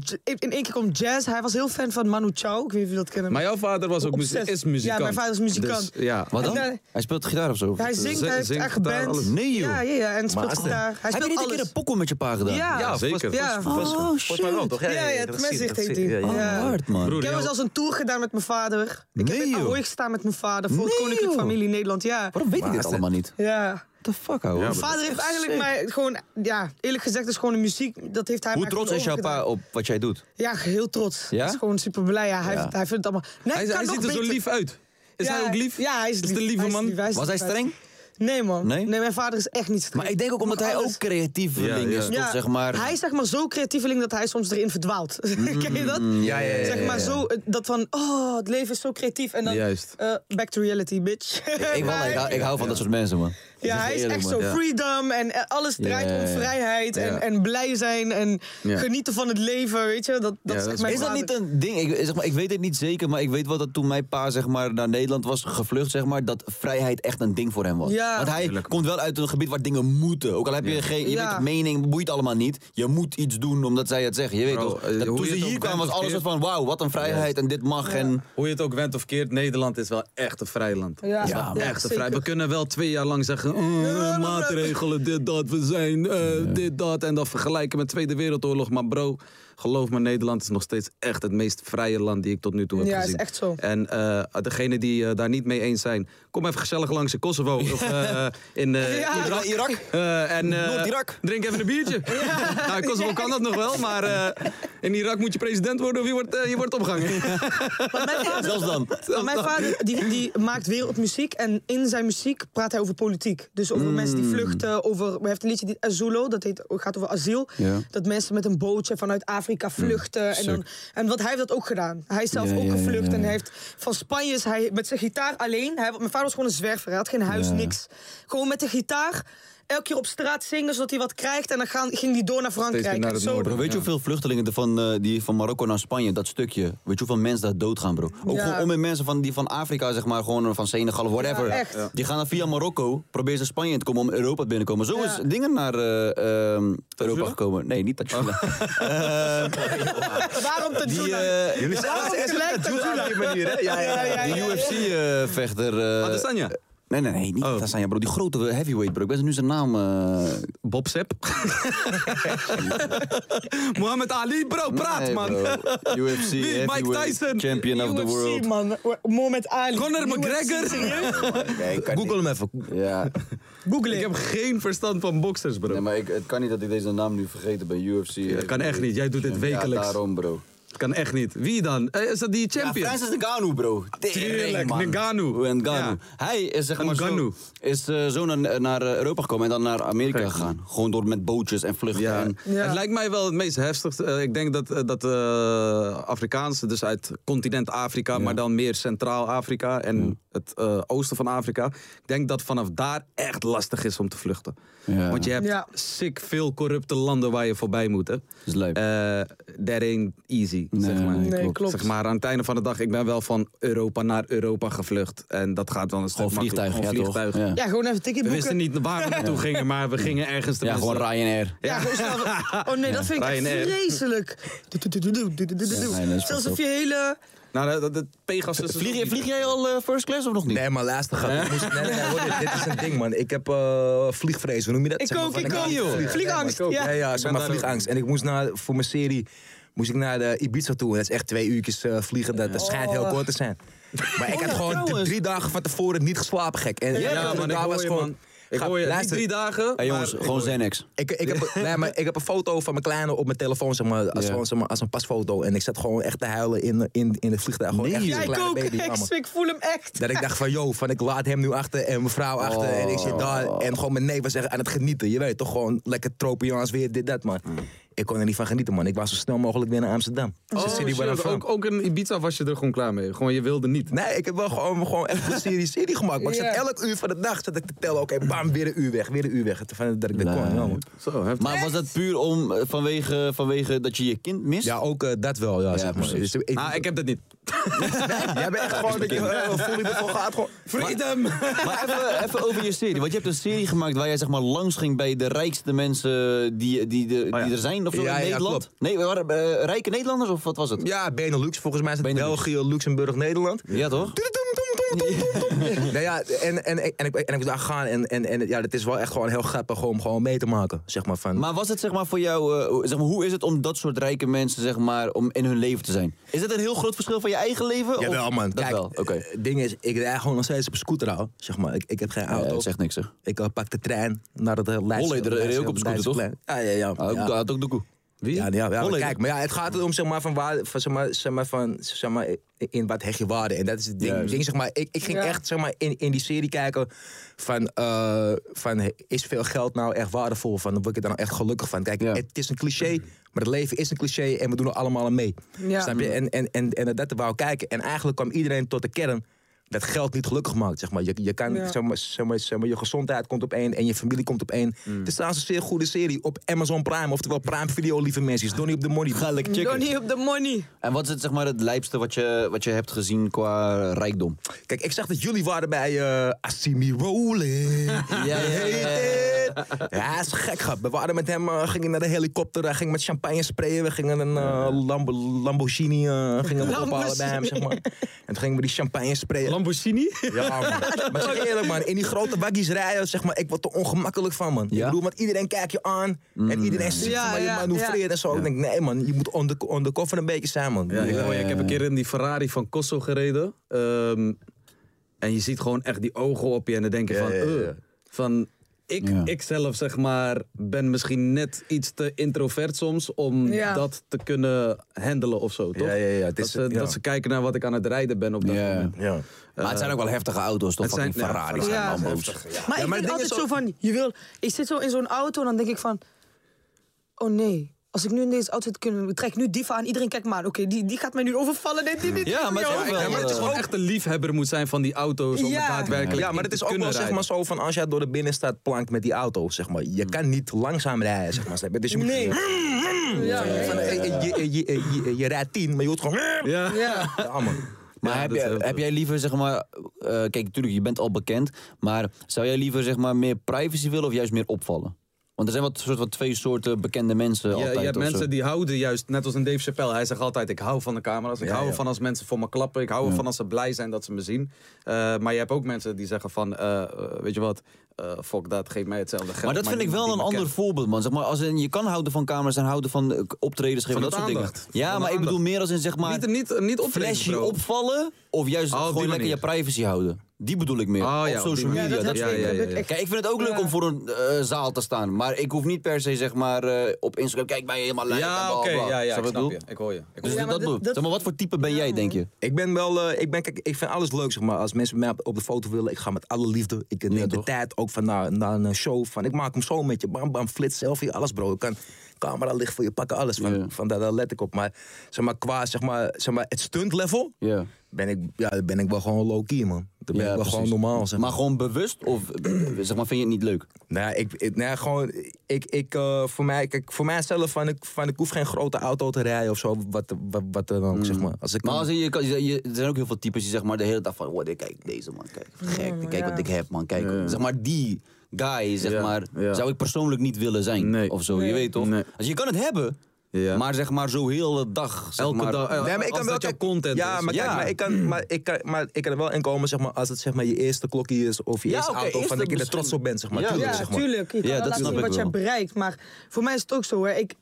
[SPEAKER 6] j- in één keer komt jazz. Hij was heel fan van Manu Chao. Ik weet niet of je dat kennen.
[SPEAKER 5] Maar jouw vader was ook muzie-
[SPEAKER 6] Obsessed.
[SPEAKER 5] is muzikant.
[SPEAKER 6] Ja, mijn vader is muzikant.
[SPEAKER 5] Dus, ja.
[SPEAKER 4] Wat dan?
[SPEAKER 6] En, eh,
[SPEAKER 4] Hij speelt gitaar of zo?
[SPEAKER 6] Hij zingt, hij heeft
[SPEAKER 5] zingt,
[SPEAKER 6] echt
[SPEAKER 5] gitaar,
[SPEAKER 6] bands.
[SPEAKER 5] alles.
[SPEAKER 4] Nee, joh.
[SPEAKER 6] Ja, ja, ja. En speelt
[SPEAKER 7] Astrid,
[SPEAKER 6] gitaar. Hij
[SPEAKER 4] Heb je
[SPEAKER 6] speelt
[SPEAKER 4] niet een keer
[SPEAKER 6] alles.
[SPEAKER 4] een pokkel met je pa gedaan?
[SPEAKER 6] eh,
[SPEAKER 4] Oh,
[SPEAKER 6] Ja.
[SPEAKER 5] Ja, zeker.
[SPEAKER 6] Ja.
[SPEAKER 7] Volgens- volgens mij wel, toch?
[SPEAKER 6] Ja, ja,
[SPEAKER 7] dat
[SPEAKER 6] het
[SPEAKER 7] zie-
[SPEAKER 6] mes
[SPEAKER 7] dat
[SPEAKER 6] heeft
[SPEAKER 7] zie-
[SPEAKER 6] hij.
[SPEAKER 7] ja, ja.
[SPEAKER 6] Ja.
[SPEAKER 4] Hard, man.
[SPEAKER 5] Broer,
[SPEAKER 6] Ik heb
[SPEAKER 5] jouw-
[SPEAKER 6] zelfs een tour gedaan met mijn vader. Ik
[SPEAKER 4] Nee,
[SPEAKER 6] heb in
[SPEAKER 4] joh.
[SPEAKER 6] Ahoy gestaan met mijn vader voor
[SPEAKER 4] Nee,
[SPEAKER 6] het Koninklijke
[SPEAKER 4] joh.
[SPEAKER 6] Familie Nederland. Ja.
[SPEAKER 4] Waarom weet ik
[SPEAKER 7] Maar
[SPEAKER 4] dit
[SPEAKER 7] ze-
[SPEAKER 4] allemaal niet?
[SPEAKER 6] Ja.
[SPEAKER 4] What the fuck, ouwe?
[SPEAKER 5] maar
[SPEAKER 6] Mijn vader heeft eigenlijk mij Eh, gewoon, ja, eerlijk gezegd, is gewoon de muziek. Dat heeft hij
[SPEAKER 4] Hoe
[SPEAKER 6] mij
[SPEAKER 4] trots
[SPEAKER 6] gewoon
[SPEAKER 4] is jouw pa
[SPEAKER 6] overgedaan.
[SPEAKER 4] op wat jij doet?
[SPEAKER 6] Ja, heel trots.
[SPEAKER 4] Ja?
[SPEAKER 6] Hij is gewoon super blij. Ja, hij, Vindt, hij vindt het allemaal. Nee,
[SPEAKER 5] Hij,
[SPEAKER 6] het kan
[SPEAKER 5] hij
[SPEAKER 6] nog
[SPEAKER 5] ziet er zo
[SPEAKER 6] beter.
[SPEAKER 5] lief uit. Is
[SPEAKER 6] Ja,
[SPEAKER 5] hij ook lief?
[SPEAKER 6] Ja, hij is
[SPEAKER 5] Is
[SPEAKER 6] lief.
[SPEAKER 5] het een lieve
[SPEAKER 6] Hij is
[SPEAKER 5] man?
[SPEAKER 6] lief, is
[SPEAKER 4] Was hij
[SPEAKER 6] lief, is
[SPEAKER 4] streng?
[SPEAKER 6] lief. Nee, man.
[SPEAKER 4] Nee?
[SPEAKER 6] Nee? mijn vader is echt niet streng.
[SPEAKER 4] Maar ik denk ook omdat
[SPEAKER 6] Nog
[SPEAKER 4] hij
[SPEAKER 6] alles.
[SPEAKER 4] ook creatieveling
[SPEAKER 5] Ja, ja.
[SPEAKER 7] eh,
[SPEAKER 4] is, toch?
[SPEAKER 6] Ja,
[SPEAKER 4] Zeg maar.
[SPEAKER 6] Hij is zeg maar zo creatieveling dat hij soms erin verdwaalt. Ken je dat?
[SPEAKER 7] Ja, ja, ja,
[SPEAKER 6] Zeg
[SPEAKER 7] Mm. ja,
[SPEAKER 6] maar
[SPEAKER 7] ja.
[SPEAKER 6] zo, eh, dat van, oh, het leven is zo creatief. En dan,
[SPEAKER 5] Juist.
[SPEAKER 6] eh, back to reality, bitch.
[SPEAKER 4] Ik, wel,
[SPEAKER 6] Maar-
[SPEAKER 4] ik, hou- ik hou van dat soort mensen, man.
[SPEAKER 6] ja, hij is
[SPEAKER 4] eerlijk,
[SPEAKER 6] echt zo
[SPEAKER 4] man. Ja.
[SPEAKER 6] freedom en eh, alles draait
[SPEAKER 4] Ja, ja,
[SPEAKER 6] om
[SPEAKER 4] ja.
[SPEAKER 6] vrijheid en,
[SPEAKER 5] Ja.
[SPEAKER 6] en blij zijn en
[SPEAKER 5] Ja.
[SPEAKER 6] genieten van het leven, weet je. Dat, dat is echt
[SPEAKER 5] dat is-
[SPEAKER 6] mijn
[SPEAKER 4] Is dat
[SPEAKER 6] vader.
[SPEAKER 4] niet een ding? Ik, zeg maar, ik weet het niet zeker, maar ik weet wel dat toen mijn pa zeg maar, naar Nederland was gevlucht, zeg maar, dat vrijheid echt een ding voor hem was.
[SPEAKER 6] Ja.
[SPEAKER 4] Want hij komt wel uit een gebied waar dingen moeten. Ook al heb je geen je
[SPEAKER 6] Ja.
[SPEAKER 4] weet, mening, boeit allemaal niet. Je moet iets doen omdat zij het zeggen. Je weet
[SPEAKER 5] Bro,
[SPEAKER 4] toch?
[SPEAKER 5] eh,
[SPEAKER 4] Dat toen
[SPEAKER 5] hoe je
[SPEAKER 4] ze
[SPEAKER 5] het ook
[SPEAKER 4] hier kwamen
[SPEAKER 5] bent
[SPEAKER 4] was
[SPEAKER 5] of
[SPEAKER 4] alles
[SPEAKER 5] keert.
[SPEAKER 4] soort van wauw, wat een vrijheid en dit mag. En,
[SPEAKER 5] Hoe je het ook went of keert, Nederland is wel echt een vrijland.
[SPEAKER 6] Ja,
[SPEAKER 5] Ja,
[SPEAKER 6] ja,
[SPEAKER 5] echt een
[SPEAKER 6] zeker.
[SPEAKER 5] vrij. We kunnen wel twee jaar lang zeggen, oh,
[SPEAKER 6] maar-
[SPEAKER 5] maatregelen, dit, dat, we zijn, eh, dit, dat. En dat vergelijken met Tweede Wereldoorlog. Maar bro, geloof me, Nederland is nog steeds echt het meest vrije land die ik tot nu toe heb
[SPEAKER 6] Ja, is
[SPEAKER 5] gezien.
[SPEAKER 6] echt zo.
[SPEAKER 5] En eh degene die eh, daar niet mee eens zijn, kom even gezellig langs in Kosovo of eh, in eh,
[SPEAKER 6] Ja.
[SPEAKER 5] Irak.
[SPEAKER 4] Irak. Irak.
[SPEAKER 5] Eh, en, eh,
[SPEAKER 4] Noord-Irak.
[SPEAKER 5] Drink even een biertje. nou, in Kosovo kan dat nog wel, maar eh, in Irak moet je president worden of je wordt, eh, je wordt opgehangen.
[SPEAKER 4] Zelfs dan.
[SPEAKER 6] Maar mijn vader die, die maakt wereldmuziek en in zijn muziek praat hij over politiek. Dus over mensen die vluchten, over, hij heeft een liedje die Azulo, dat heet, gaat over asiel.
[SPEAKER 4] Ja.
[SPEAKER 6] Dat mensen met een bootje vanuit Afrika vluchten. en, dan, en wat hij heeft dat ook gedaan. Hij is zelf
[SPEAKER 4] Ja,
[SPEAKER 6] ook
[SPEAKER 4] ja,
[SPEAKER 6] gevlucht
[SPEAKER 4] ja, ja.
[SPEAKER 6] en hij heeft van Spanje is hij met zijn gitaar alleen. Hij, mijn vader was gewoon een zwerver, hij had geen huis, niks. Gewoon met de gitaar. elke keer op straat zingen, zodat hij wat krijgt. En dan gaan, ging hij door naar
[SPEAKER 5] meer
[SPEAKER 6] Frankrijk.
[SPEAKER 5] naar
[SPEAKER 6] en
[SPEAKER 5] het
[SPEAKER 6] zo.
[SPEAKER 5] noorden.
[SPEAKER 4] Bro, weet je hoeveel vluchtelingen er van, eh, die van Marokko naar Spanje, dat stukje, weet je hoeveel mensen daar doodgaan, bro? Ook
[SPEAKER 6] Ja.
[SPEAKER 4] gewoon om in mensen van, die van Afrika, zeg maar, gewoon eh, van Senegal of whatever.
[SPEAKER 6] Ja, echt. Ja.
[SPEAKER 4] Die gaan dan via Marokko, proberen ze Spanje in te komen om Europa binnen te komen. Zo
[SPEAKER 6] Ja.
[SPEAKER 4] is dingen naar eh, ehm, Europa gekomen. Nee, niet Tajula.
[SPEAKER 6] Waarom te
[SPEAKER 4] Die,
[SPEAKER 6] doen?
[SPEAKER 4] eh,
[SPEAKER 6] Jullie zijn Waarom echt gelijk met Tajula? Tajula op die manier, hè? Ja, ja, ja,
[SPEAKER 4] die
[SPEAKER 6] ja, Oh. ja.
[SPEAKER 4] UFC-vechter.
[SPEAKER 5] Adesanya?
[SPEAKER 4] eh, Nee, nee, nee, niet Adesanya, bro. Die grote heavyweight, bro. Ik ben nu zijn naam... eh,
[SPEAKER 5] Bob Sepp. Mohammed Ali, bro, praat
[SPEAKER 4] nee,
[SPEAKER 5] man.
[SPEAKER 4] bro. UFC
[SPEAKER 5] Wie? Mike
[SPEAKER 4] heavyweight
[SPEAKER 5] Tyson.
[SPEAKER 4] champion of the
[SPEAKER 6] UFC,
[SPEAKER 4] world.
[SPEAKER 6] man. Mohamed Ali.
[SPEAKER 5] Conor
[SPEAKER 6] UFC,
[SPEAKER 5] McGregor.
[SPEAKER 6] serieus?
[SPEAKER 7] Google hem even.
[SPEAKER 4] Ja,
[SPEAKER 5] Ik heb geen verstand van boxers, bro.
[SPEAKER 4] nee, maar ik, het kan niet dat ik deze naam nu vergeten bij UFC.
[SPEAKER 5] dat kan
[SPEAKER 4] eh,
[SPEAKER 5] echt niet. Jij doet dit wekelijks.
[SPEAKER 4] Ja, daarom, bro.
[SPEAKER 5] Het kan echt niet. Wie dan? Eh, Is dat die champion?
[SPEAKER 4] Francis Ngannou, bro.
[SPEAKER 5] Tuurlijk, Ngannou.
[SPEAKER 4] En Ngannou.
[SPEAKER 5] Ja.
[SPEAKER 4] Hij is zeg maar
[SPEAKER 5] Ngannou.
[SPEAKER 4] zo, is, eh, zo naar, naar Europa gekomen en dan naar Amerika
[SPEAKER 5] Gek,
[SPEAKER 4] gegaan. Gewoon door met bootjes en vluchten.
[SPEAKER 5] Ja.
[SPEAKER 4] En,
[SPEAKER 6] Ja.
[SPEAKER 5] Het lijkt mij wel het meest heftigste. Eh, ik denk dat, eh, dat eh, Afrikaanse, dus uit continent Afrika, maar dan meer Centraal-Afrika en het eh, oosten van Afrika. Ik denk dat vanaf daar echt lastig is om te vluchten.
[SPEAKER 4] Ja.
[SPEAKER 5] Want je hebt
[SPEAKER 6] Ja.
[SPEAKER 5] sick veel corrupte landen waar je voorbij moet. Hè.
[SPEAKER 4] is lijp.
[SPEAKER 5] Eh, that ain't easy,
[SPEAKER 4] Nee,
[SPEAKER 5] zeg maar.
[SPEAKER 4] nee,
[SPEAKER 6] Nee, klopt. klopt.
[SPEAKER 5] Zeg maar, aan het einde van de dag, ik ben wel van Europa naar Europa gevlucht. En dat gaat dan een stuk
[SPEAKER 4] Gewoon vliegtuig,
[SPEAKER 5] makkelijker.
[SPEAKER 4] ja,
[SPEAKER 5] Gewoon
[SPEAKER 4] toch?
[SPEAKER 5] vliegtuig.
[SPEAKER 4] Ja.
[SPEAKER 6] Ja, gewoon even een tikkie
[SPEAKER 5] We
[SPEAKER 6] boeken.
[SPEAKER 5] wisten niet waar we naartoe gingen, maar we gingen ergens
[SPEAKER 4] Ja, gewoon Ryanair.
[SPEAKER 6] Ja, gewoon snel- Oh nee, dat vind ik echt
[SPEAKER 5] Ryanair.
[SPEAKER 6] vreselijk.
[SPEAKER 4] nee, dat is
[SPEAKER 6] Zelfs
[SPEAKER 4] wel
[SPEAKER 6] of je hele...
[SPEAKER 5] Nou, dat, dat- dat Pegasus is
[SPEAKER 4] Vlieg,
[SPEAKER 5] ook
[SPEAKER 4] jij-
[SPEAKER 5] niet-
[SPEAKER 4] vlieg jij al eh, first class of nog niet?
[SPEAKER 7] Nee, maar laatste gaat. ik moest- Nee, nee, nee, hoor, dit, dit is een ding, man. Ik heb eh, vliegvrees, hoe noem je dat?
[SPEAKER 6] Ik
[SPEAKER 7] Zeg maar
[SPEAKER 6] ook,
[SPEAKER 7] van,
[SPEAKER 6] ik
[SPEAKER 7] kan
[SPEAKER 6] ook,
[SPEAKER 7] niet
[SPEAKER 6] joh.
[SPEAKER 7] vliegen.
[SPEAKER 6] Vliegangst,
[SPEAKER 7] Nee, maar ik ook.
[SPEAKER 6] ja.
[SPEAKER 7] Ja, ja, zeg
[SPEAKER 5] ben
[SPEAKER 7] maar
[SPEAKER 5] daar
[SPEAKER 7] vliegangst. En ik moest naar, voor mijn serie moest ik naar de Ibiza toe. En dat is echt twee uurtjes eh, vliegen. Dat, dat schijnt
[SPEAKER 6] Oh.
[SPEAKER 7] heel kort te zijn. Maar ik
[SPEAKER 4] Oh,
[SPEAKER 7] had
[SPEAKER 4] ja,
[SPEAKER 7] gewoon
[SPEAKER 4] trouwens.
[SPEAKER 7] drie dagen van tevoren niet geslapen, gek. En
[SPEAKER 5] Ja, man, ik hoor je, man. Ik
[SPEAKER 7] Ga-
[SPEAKER 5] hoor je. Niet
[SPEAKER 7] luister,
[SPEAKER 5] drie dagen.
[SPEAKER 4] Hey, jongens,
[SPEAKER 5] maar-
[SPEAKER 4] gewoon Xanax.
[SPEAKER 7] ik, ik, heb, nee, maar ik heb een foto van mijn kleine op mijn telefoon, zeg maar, als,
[SPEAKER 4] Ja.
[SPEAKER 7] gewoon, zeg maar, als een pasfoto. En ik zat gewoon echt te huilen in, in, in het vliegtuig. Gewoon
[SPEAKER 4] Nee,
[SPEAKER 7] echt
[SPEAKER 4] joh.
[SPEAKER 7] als
[SPEAKER 6] Ja,
[SPEAKER 7] een
[SPEAKER 6] ik
[SPEAKER 7] kleine
[SPEAKER 6] ook.
[SPEAKER 7] baby. ja, man.
[SPEAKER 6] Ik, ik voel hem echt.
[SPEAKER 7] Dat ik dacht van, joh, van ik laat hem nu achter en mijn vrouw achter. En Oh, eh, ik zit daar
[SPEAKER 6] Oh.
[SPEAKER 7] en gewoon mijn neef was echt aan het genieten. Je weet toch, gewoon lekker tropiaans weer, dit, dat, man.
[SPEAKER 6] Mm.
[SPEAKER 7] Ik kon er niet van genieten, man. Ik was zo snel mogelijk weer naar Amsterdam. Dus
[SPEAKER 5] Oh,
[SPEAKER 7] ik zit hier
[SPEAKER 5] shit,
[SPEAKER 7] waar dan van.
[SPEAKER 5] ook, ook in Ibiza was je er gewoon klaar mee. Gewoon, je wilde niet.
[SPEAKER 7] Nee, ik heb wel gewoon, gewoon echt een serie, serie gemaakt. Maar ik zat
[SPEAKER 6] Ja.
[SPEAKER 7] elk uur van de dag zat ik te tellen. Oké, bam, weer een uur weg, weer een uur weg. Van dat ik dat kon, ja, man.
[SPEAKER 5] Zo, heftig.
[SPEAKER 4] Maar was dat puur om, eh, vanwege, vanwege dat je je kind mist?
[SPEAKER 7] Ja, ook eh, dat wel, ja, zeg maar.
[SPEAKER 4] precies.
[SPEAKER 7] Dus ik,
[SPEAKER 5] ah, ik heb dat niet.
[SPEAKER 7] jij bent echt gewoon, ik eh, voel je ervoor gaat gewoon...
[SPEAKER 5] Freedom!
[SPEAKER 4] Maar even, even over je serie. Want je hebt een serie gemaakt waar jij zeg maar langs ging bij de rijkste mensen die, die, de,
[SPEAKER 5] ja.
[SPEAKER 4] die er zijn of zo
[SPEAKER 7] Oh Ja,
[SPEAKER 4] in
[SPEAKER 7] ja,
[SPEAKER 4] Nederland.
[SPEAKER 7] klopt.
[SPEAKER 4] nee, waren eh, rijke Nederlanders of wat was het?
[SPEAKER 7] Ja, Benelux, volgens mij is het
[SPEAKER 4] Benelux.
[SPEAKER 7] België, Luxemburg, Nederland.
[SPEAKER 4] Ja, toch?
[SPEAKER 7] Nou ja, en, en, en, ik- en, ik ben daar gegaan en, en, en ja, het is wel echt gewoon heel grappig om gewoon mee te maken, zeg maar. Van,
[SPEAKER 4] Maar was het zeg maar voor jou, eh, zeg maar, hoe is het om dat soort rijke mensen zeg maar om in hun leven te zijn? Is dat een heel groot verschil van je eigen leven?
[SPEAKER 7] Jawel,
[SPEAKER 4] of-
[SPEAKER 7] man.
[SPEAKER 4] Dat
[SPEAKER 7] Kijk,
[SPEAKER 4] wel, oké.
[SPEAKER 7] eh, het ding is, ik rijd gewoon nog steeds op scooter al, zeg maar. Ik, ik heb geen
[SPEAKER 4] Ja,
[SPEAKER 7] auto.
[SPEAKER 4] dat zegt niks, Ah, zeg.
[SPEAKER 7] ik eh, pak de trein naar het uh, Leidse...
[SPEAKER 4] Holleder reed ook op scooter, toch?
[SPEAKER 7] Leidse- Ja, ja, ja.
[SPEAKER 4] Ah, ook-
[SPEAKER 7] ja.
[SPEAKER 4] dat had ook de koe. Wie?
[SPEAKER 7] Ja, ja, ja, maar
[SPEAKER 4] Holleder.
[SPEAKER 7] kijk, maar ja, het gaat erom, zeg maar, van waar, van, zeg maar, zeg maar, van, zeg maar, in wat hecht je waarde. En dat is het ding,
[SPEAKER 4] Juist.
[SPEAKER 7] ding, zeg maar, ik, ik ging
[SPEAKER 6] Ja.
[SPEAKER 7] echt, zeg maar, in, in die serie kijken van, eh, van, he- is veel geld nou echt waardevol? Van, word ik er dan echt gelukkig van? Kijk,
[SPEAKER 4] Ja.
[SPEAKER 7] het is een cliché, maar het leven is een cliché en we doen er allemaal aan mee.
[SPEAKER 6] Ja.
[SPEAKER 7] Snap je? En, en, en, en dat wou ik kijken. En eigenlijk kwam iedereen tot de kern dat geld niet gelukkig maakt, zeg maar. Je, je kan,
[SPEAKER 6] Ja.
[SPEAKER 7] zeg maar, zeg maar, zeg maar, je gezondheid komt op één en je familie komt op één.
[SPEAKER 8] Mm.
[SPEAKER 7] Het is trouwens een zeer goede serie op Amazon Prime, oftewel Prime Video, lieve mensen. Is Donnie op de money.
[SPEAKER 4] Ga lekker checken.
[SPEAKER 6] Donnie op de money.
[SPEAKER 4] En wat is het zeg maar het lijpste wat je, wat je hebt gezien qua rijkdom?
[SPEAKER 7] Kijk, ik zag dat jullie waren bij eh I See Me Rolling.
[SPEAKER 4] ja, ja,
[SPEAKER 7] Hate it. Ja, is gek, grap. We waren met hem, eh, gingen naar de helikopter, eh, gingen met champagne sprayen. We gingen een eh, Lambo- Lamborghini eh, gingen we ophalen bij hem, zeg maar. En toen gingen we die champagne sprayen.
[SPEAKER 5] Lamborghini?
[SPEAKER 7] Ja, man. Maar zeg eerlijk, man. In die grote waggies rijden, zeg maar, ik word er ongemakkelijk van, man. Ik
[SPEAKER 4] Ja?
[SPEAKER 7] bedoel, want iedereen kijkt je aan. En iedereen ziet
[SPEAKER 6] Ja,
[SPEAKER 7] van, je
[SPEAKER 6] ja,
[SPEAKER 7] manoeuvreert
[SPEAKER 6] ja.
[SPEAKER 7] en zo. Ik denk, nee, man. Je moet onder de koffer een beetje zijn, man.
[SPEAKER 5] Ja, ik, hoor je, ik heb een keer in die Ferrari van Kosso gereden. Ehm, en je ziet gewoon echt die ogen op je en dan denk je van...
[SPEAKER 7] ja, ja.
[SPEAKER 5] eh, van ik,
[SPEAKER 4] Ja.
[SPEAKER 5] ik zelf zeg maar ben misschien net iets te introvert soms om
[SPEAKER 6] Ja.
[SPEAKER 5] dat te kunnen handelen of zo, toch?
[SPEAKER 7] Ja, ja, ja, het
[SPEAKER 5] Dat,
[SPEAKER 7] is-
[SPEAKER 5] ze,
[SPEAKER 7] ja.
[SPEAKER 5] dat ze kijken naar wat ik aan het rijden ben op dat
[SPEAKER 4] Ja.
[SPEAKER 5] moment.
[SPEAKER 7] Ja.
[SPEAKER 4] maar het zijn ook wel heftige auto's, toch?
[SPEAKER 5] het
[SPEAKER 4] Fucking
[SPEAKER 5] zijn- ja,
[SPEAKER 4] Ferraris
[SPEAKER 6] ja,
[SPEAKER 4] en
[SPEAKER 6] het zijn
[SPEAKER 4] Lambo's.
[SPEAKER 6] Maar
[SPEAKER 7] Ja,
[SPEAKER 6] ik
[SPEAKER 7] maar
[SPEAKER 6] ben
[SPEAKER 7] het ding
[SPEAKER 6] altijd
[SPEAKER 7] is
[SPEAKER 6] zo
[SPEAKER 7] ook-
[SPEAKER 6] van, je wil, ik zit zo in zo'n auto en dan denk ik van, oh nee, Als ik nu in deze outfit kan, trek nu diva aan. Iedereen kijkt maar aan. Oké, die, die gaat mij nu overvallen. Dit, dit, dit,
[SPEAKER 4] Ja,
[SPEAKER 6] dit,
[SPEAKER 4] maar het is
[SPEAKER 6] joh.
[SPEAKER 4] ook wel,
[SPEAKER 5] Ja, maar het is
[SPEAKER 4] eh,
[SPEAKER 5] gewoon echt een liefhebber moet zijn van die auto's om
[SPEAKER 6] Ja.
[SPEAKER 5] het daadwerkelijk
[SPEAKER 7] Ja, maar
[SPEAKER 5] in
[SPEAKER 7] het is
[SPEAKER 5] te
[SPEAKER 7] ook wel
[SPEAKER 5] kunnen
[SPEAKER 7] zeg maar,
[SPEAKER 5] rijden.
[SPEAKER 7] zo van als jij door de binnenstad plankt met die auto, zeg maar. Je kan niet langzaam rijden, zeg maar. snap je? Dus je moet-
[SPEAKER 6] Mm. Nee. Ja,
[SPEAKER 7] Van,
[SPEAKER 6] ja,
[SPEAKER 7] eh, eh, je, eh, je, eh, je, eh, je rijdt tien, maar je hoort gewoon...
[SPEAKER 5] Ja.
[SPEAKER 6] ja.
[SPEAKER 7] Ja, man.
[SPEAKER 4] Maar
[SPEAKER 5] Ja,
[SPEAKER 4] heb,
[SPEAKER 5] dat
[SPEAKER 4] jij,
[SPEAKER 5] is heel
[SPEAKER 4] heb
[SPEAKER 5] goed.
[SPEAKER 4] jij liever, zeg maar... eh, kijk, natuurlijk, je bent al bekend. Maar zou jij liever, zeg maar, meer privacy willen of juist meer opvallen? Want er zijn wat, soort van twee soorten bekende mensen
[SPEAKER 5] Je,
[SPEAKER 4] altijd.
[SPEAKER 5] je hebt
[SPEAKER 4] of zo.
[SPEAKER 5] mensen die houden juist, net als een Dave Chappelle. Hij zegt altijd, ik hou van de camera's. Ik hou ervan als mensen voor me klappen. Ik hou ervan als ze blij zijn dat ze me zien. Eh, maar je hebt ook mensen die zeggen van, eh, eh, weet je wat... eh, fuck dat, geef mij hetzelfde geld.
[SPEAKER 4] Maar dat vind ik
[SPEAKER 5] die-
[SPEAKER 4] wel
[SPEAKER 5] die
[SPEAKER 4] een
[SPEAKER 5] me
[SPEAKER 4] ander
[SPEAKER 5] kent.
[SPEAKER 4] voorbeeld, man. Zeg maar, als in, je kan houden van camera's en houden van eh, optredens geven, dat
[SPEAKER 5] Van de
[SPEAKER 4] soort dingen.
[SPEAKER 5] aandacht.
[SPEAKER 4] Ja,
[SPEAKER 5] Van de
[SPEAKER 4] maar ik bedoel
[SPEAKER 5] aandacht.
[SPEAKER 4] meer als in, zeg maar...
[SPEAKER 5] Niet, niet, niet optreden,
[SPEAKER 4] flashy
[SPEAKER 5] bro.
[SPEAKER 4] opvallen of juist
[SPEAKER 5] Oh, op
[SPEAKER 4] gewoon
[SPEAKER 5] die
[SPEAKER 4] lekker je privacy houden. Die bedoel ik meer.
[SPEAKER 5] Oh,
[SPEAKER 4] op
[SPEAKER 5] ja, op die
[SPEAKER 4] social
[SPEAKER 5] manier.
[SPEAKER 4] media.
[SPEAKER 5] Ja,
[SPEAKER 4] dat
[SPEAKER 5] dat
[SPEAKER 4] soort
[SPEAKER 5] heb ik-
[SPEAKER 4] dingen.
[SPEAKER 5] heb ik echt-
[SPEAKER 4] Kijk, ik vind het ook leuk om voor een eh, zaal te staan. Maar ik hoef niet per se zeg maar eh, op Instagram. Kijk mij helemaal lijken.
[SPEAKER 5] Ja, oké, ja, ja, ik snap je. Ik hoor je. Ik
[SPEAKER 4] Dus
[SPEAKER 5] hoor je.
[SPEAKER 4] dat bedoel. ik.
[SPEAKER 6] dat-
[SPEAKER 4] Zeg maar, wat voor type ben jij, denk je?
[SPEAKER 7] Ik ben wel, eh, ik, ben, kijk, ik vind alles leuk, zeg maar. Als mensen met mij op, op de foto willen, ik ga met alle liefde.
[SPEAKER 8] eh,
[SPEAKER 7] Ik neem de
[SPEAKER 4] toch?
[SPEAKER 7] tijd ook van naar, naar een show. Van, ik maak hem zo met je, bam, bam, flits, selfie, alles bro. Ik kan camera licht voor je pakken, alles. Van,
[SPEAKER 4] Ja.
[SPEAKER 7] van daar, daar let ik op. Maar, zeg maar qua zeg maar, zeg maar, het stunt level,
[SPEAKER 4] Ja.
[SPEAKER 7] ben ik, ja, ben ik wel gewoon low key, man. Dan ben ik wel gewoon normaal, zeg maar.
[SPEAKER 4] Maar gewoon bewust of eh, zeg maar, vind je het niet leuk?
[SPEAKER 7] Nou, ik, ik, nou ja, gewoon, ik, ik, eh, voor, mij, kijk, voor mijzelf, van, ik, van, ik hoef geen grote auto te rijden of zo. Wat, wat, wat dan ook, zeg maar. Als ik
[SPEAKER 4] Maar als in, je, kan- je, je- er zijn ook heel veel types die zeg maar de hele dag van, oh, dit- kijk deze man, kijk, gek, kijk wat ik heb man, kijk, zeg maar die guy, zeg
[SPEAKER 5] Ja,
[SPEAKER 4] maar,
[SPEAKER 5] ja.
[SPEAKER 4] zou ik persoonlijk niet willen zijn
[SPEAKER 5] Nee.
[SPEAKER 4] of zo, je weet toch?
[SPEAKER 5] Nee.
[SPEAKER 4] Als je kan het hebben,
[SPEAKER 5] Ja.
[SPEAKER 4] maar zeg maar zo heel de dag, zeg
[SPEAKER 5] Elke
[SPEAKER 4] maar,
[SPEAKER 5] dag, eh,
[SPEAKER 7] Nee, maar ik
[SPEAKER 5] als
[SPEAKER 7] kan wel
[SPEAKER 5] dat jouw
[SPEAKER 7] kijk-
[SPEAKER 5] content
[SPEAKER 7] ja,
[SPEAKER 5] is.
[SPEAKER 7] Maar kijk,
[SPEAKER 4] Ja.
[SPEAKER 7] Maar ik kan, maar ik kan, maar ik kan er wel in komen zeg maar, als het zeg maar, je eerste klokje is of je
[SPEAKER 4] Ja,
[SPEAKER 7] eerste
[SPEAKER 4] oké,
[SPEAKER 7] auto.
[SPEAKER 4] eerste
[SPEAKER 7] Van dat je er
[SPEAKER 4] bescherm-
[SPEAKER 7] trots op bent, zeg maar.
[SPEAKER 4] Ja,
[SPEAKER 7] tuurlijk,
[SPEAKER 6] Ja,
[SPEAKER 7] zeg maar.
[SPEAKER 6] tuurlijk. Je kan
[SPEAKER 4] Ja,
[SPEAKER 6] wel
[SPEAKER 4] dat
[SPEAKER 6] laten
[SPEAKER 4] snap
[SPEAKER 6] zien
[SPEAKER 4] ik
[SPEAKER 6] wat jij
[SPEAKER 4] wel.
[SPEAKER 6] bereikt. Maar voor mij is het ook zo, hè. Ik,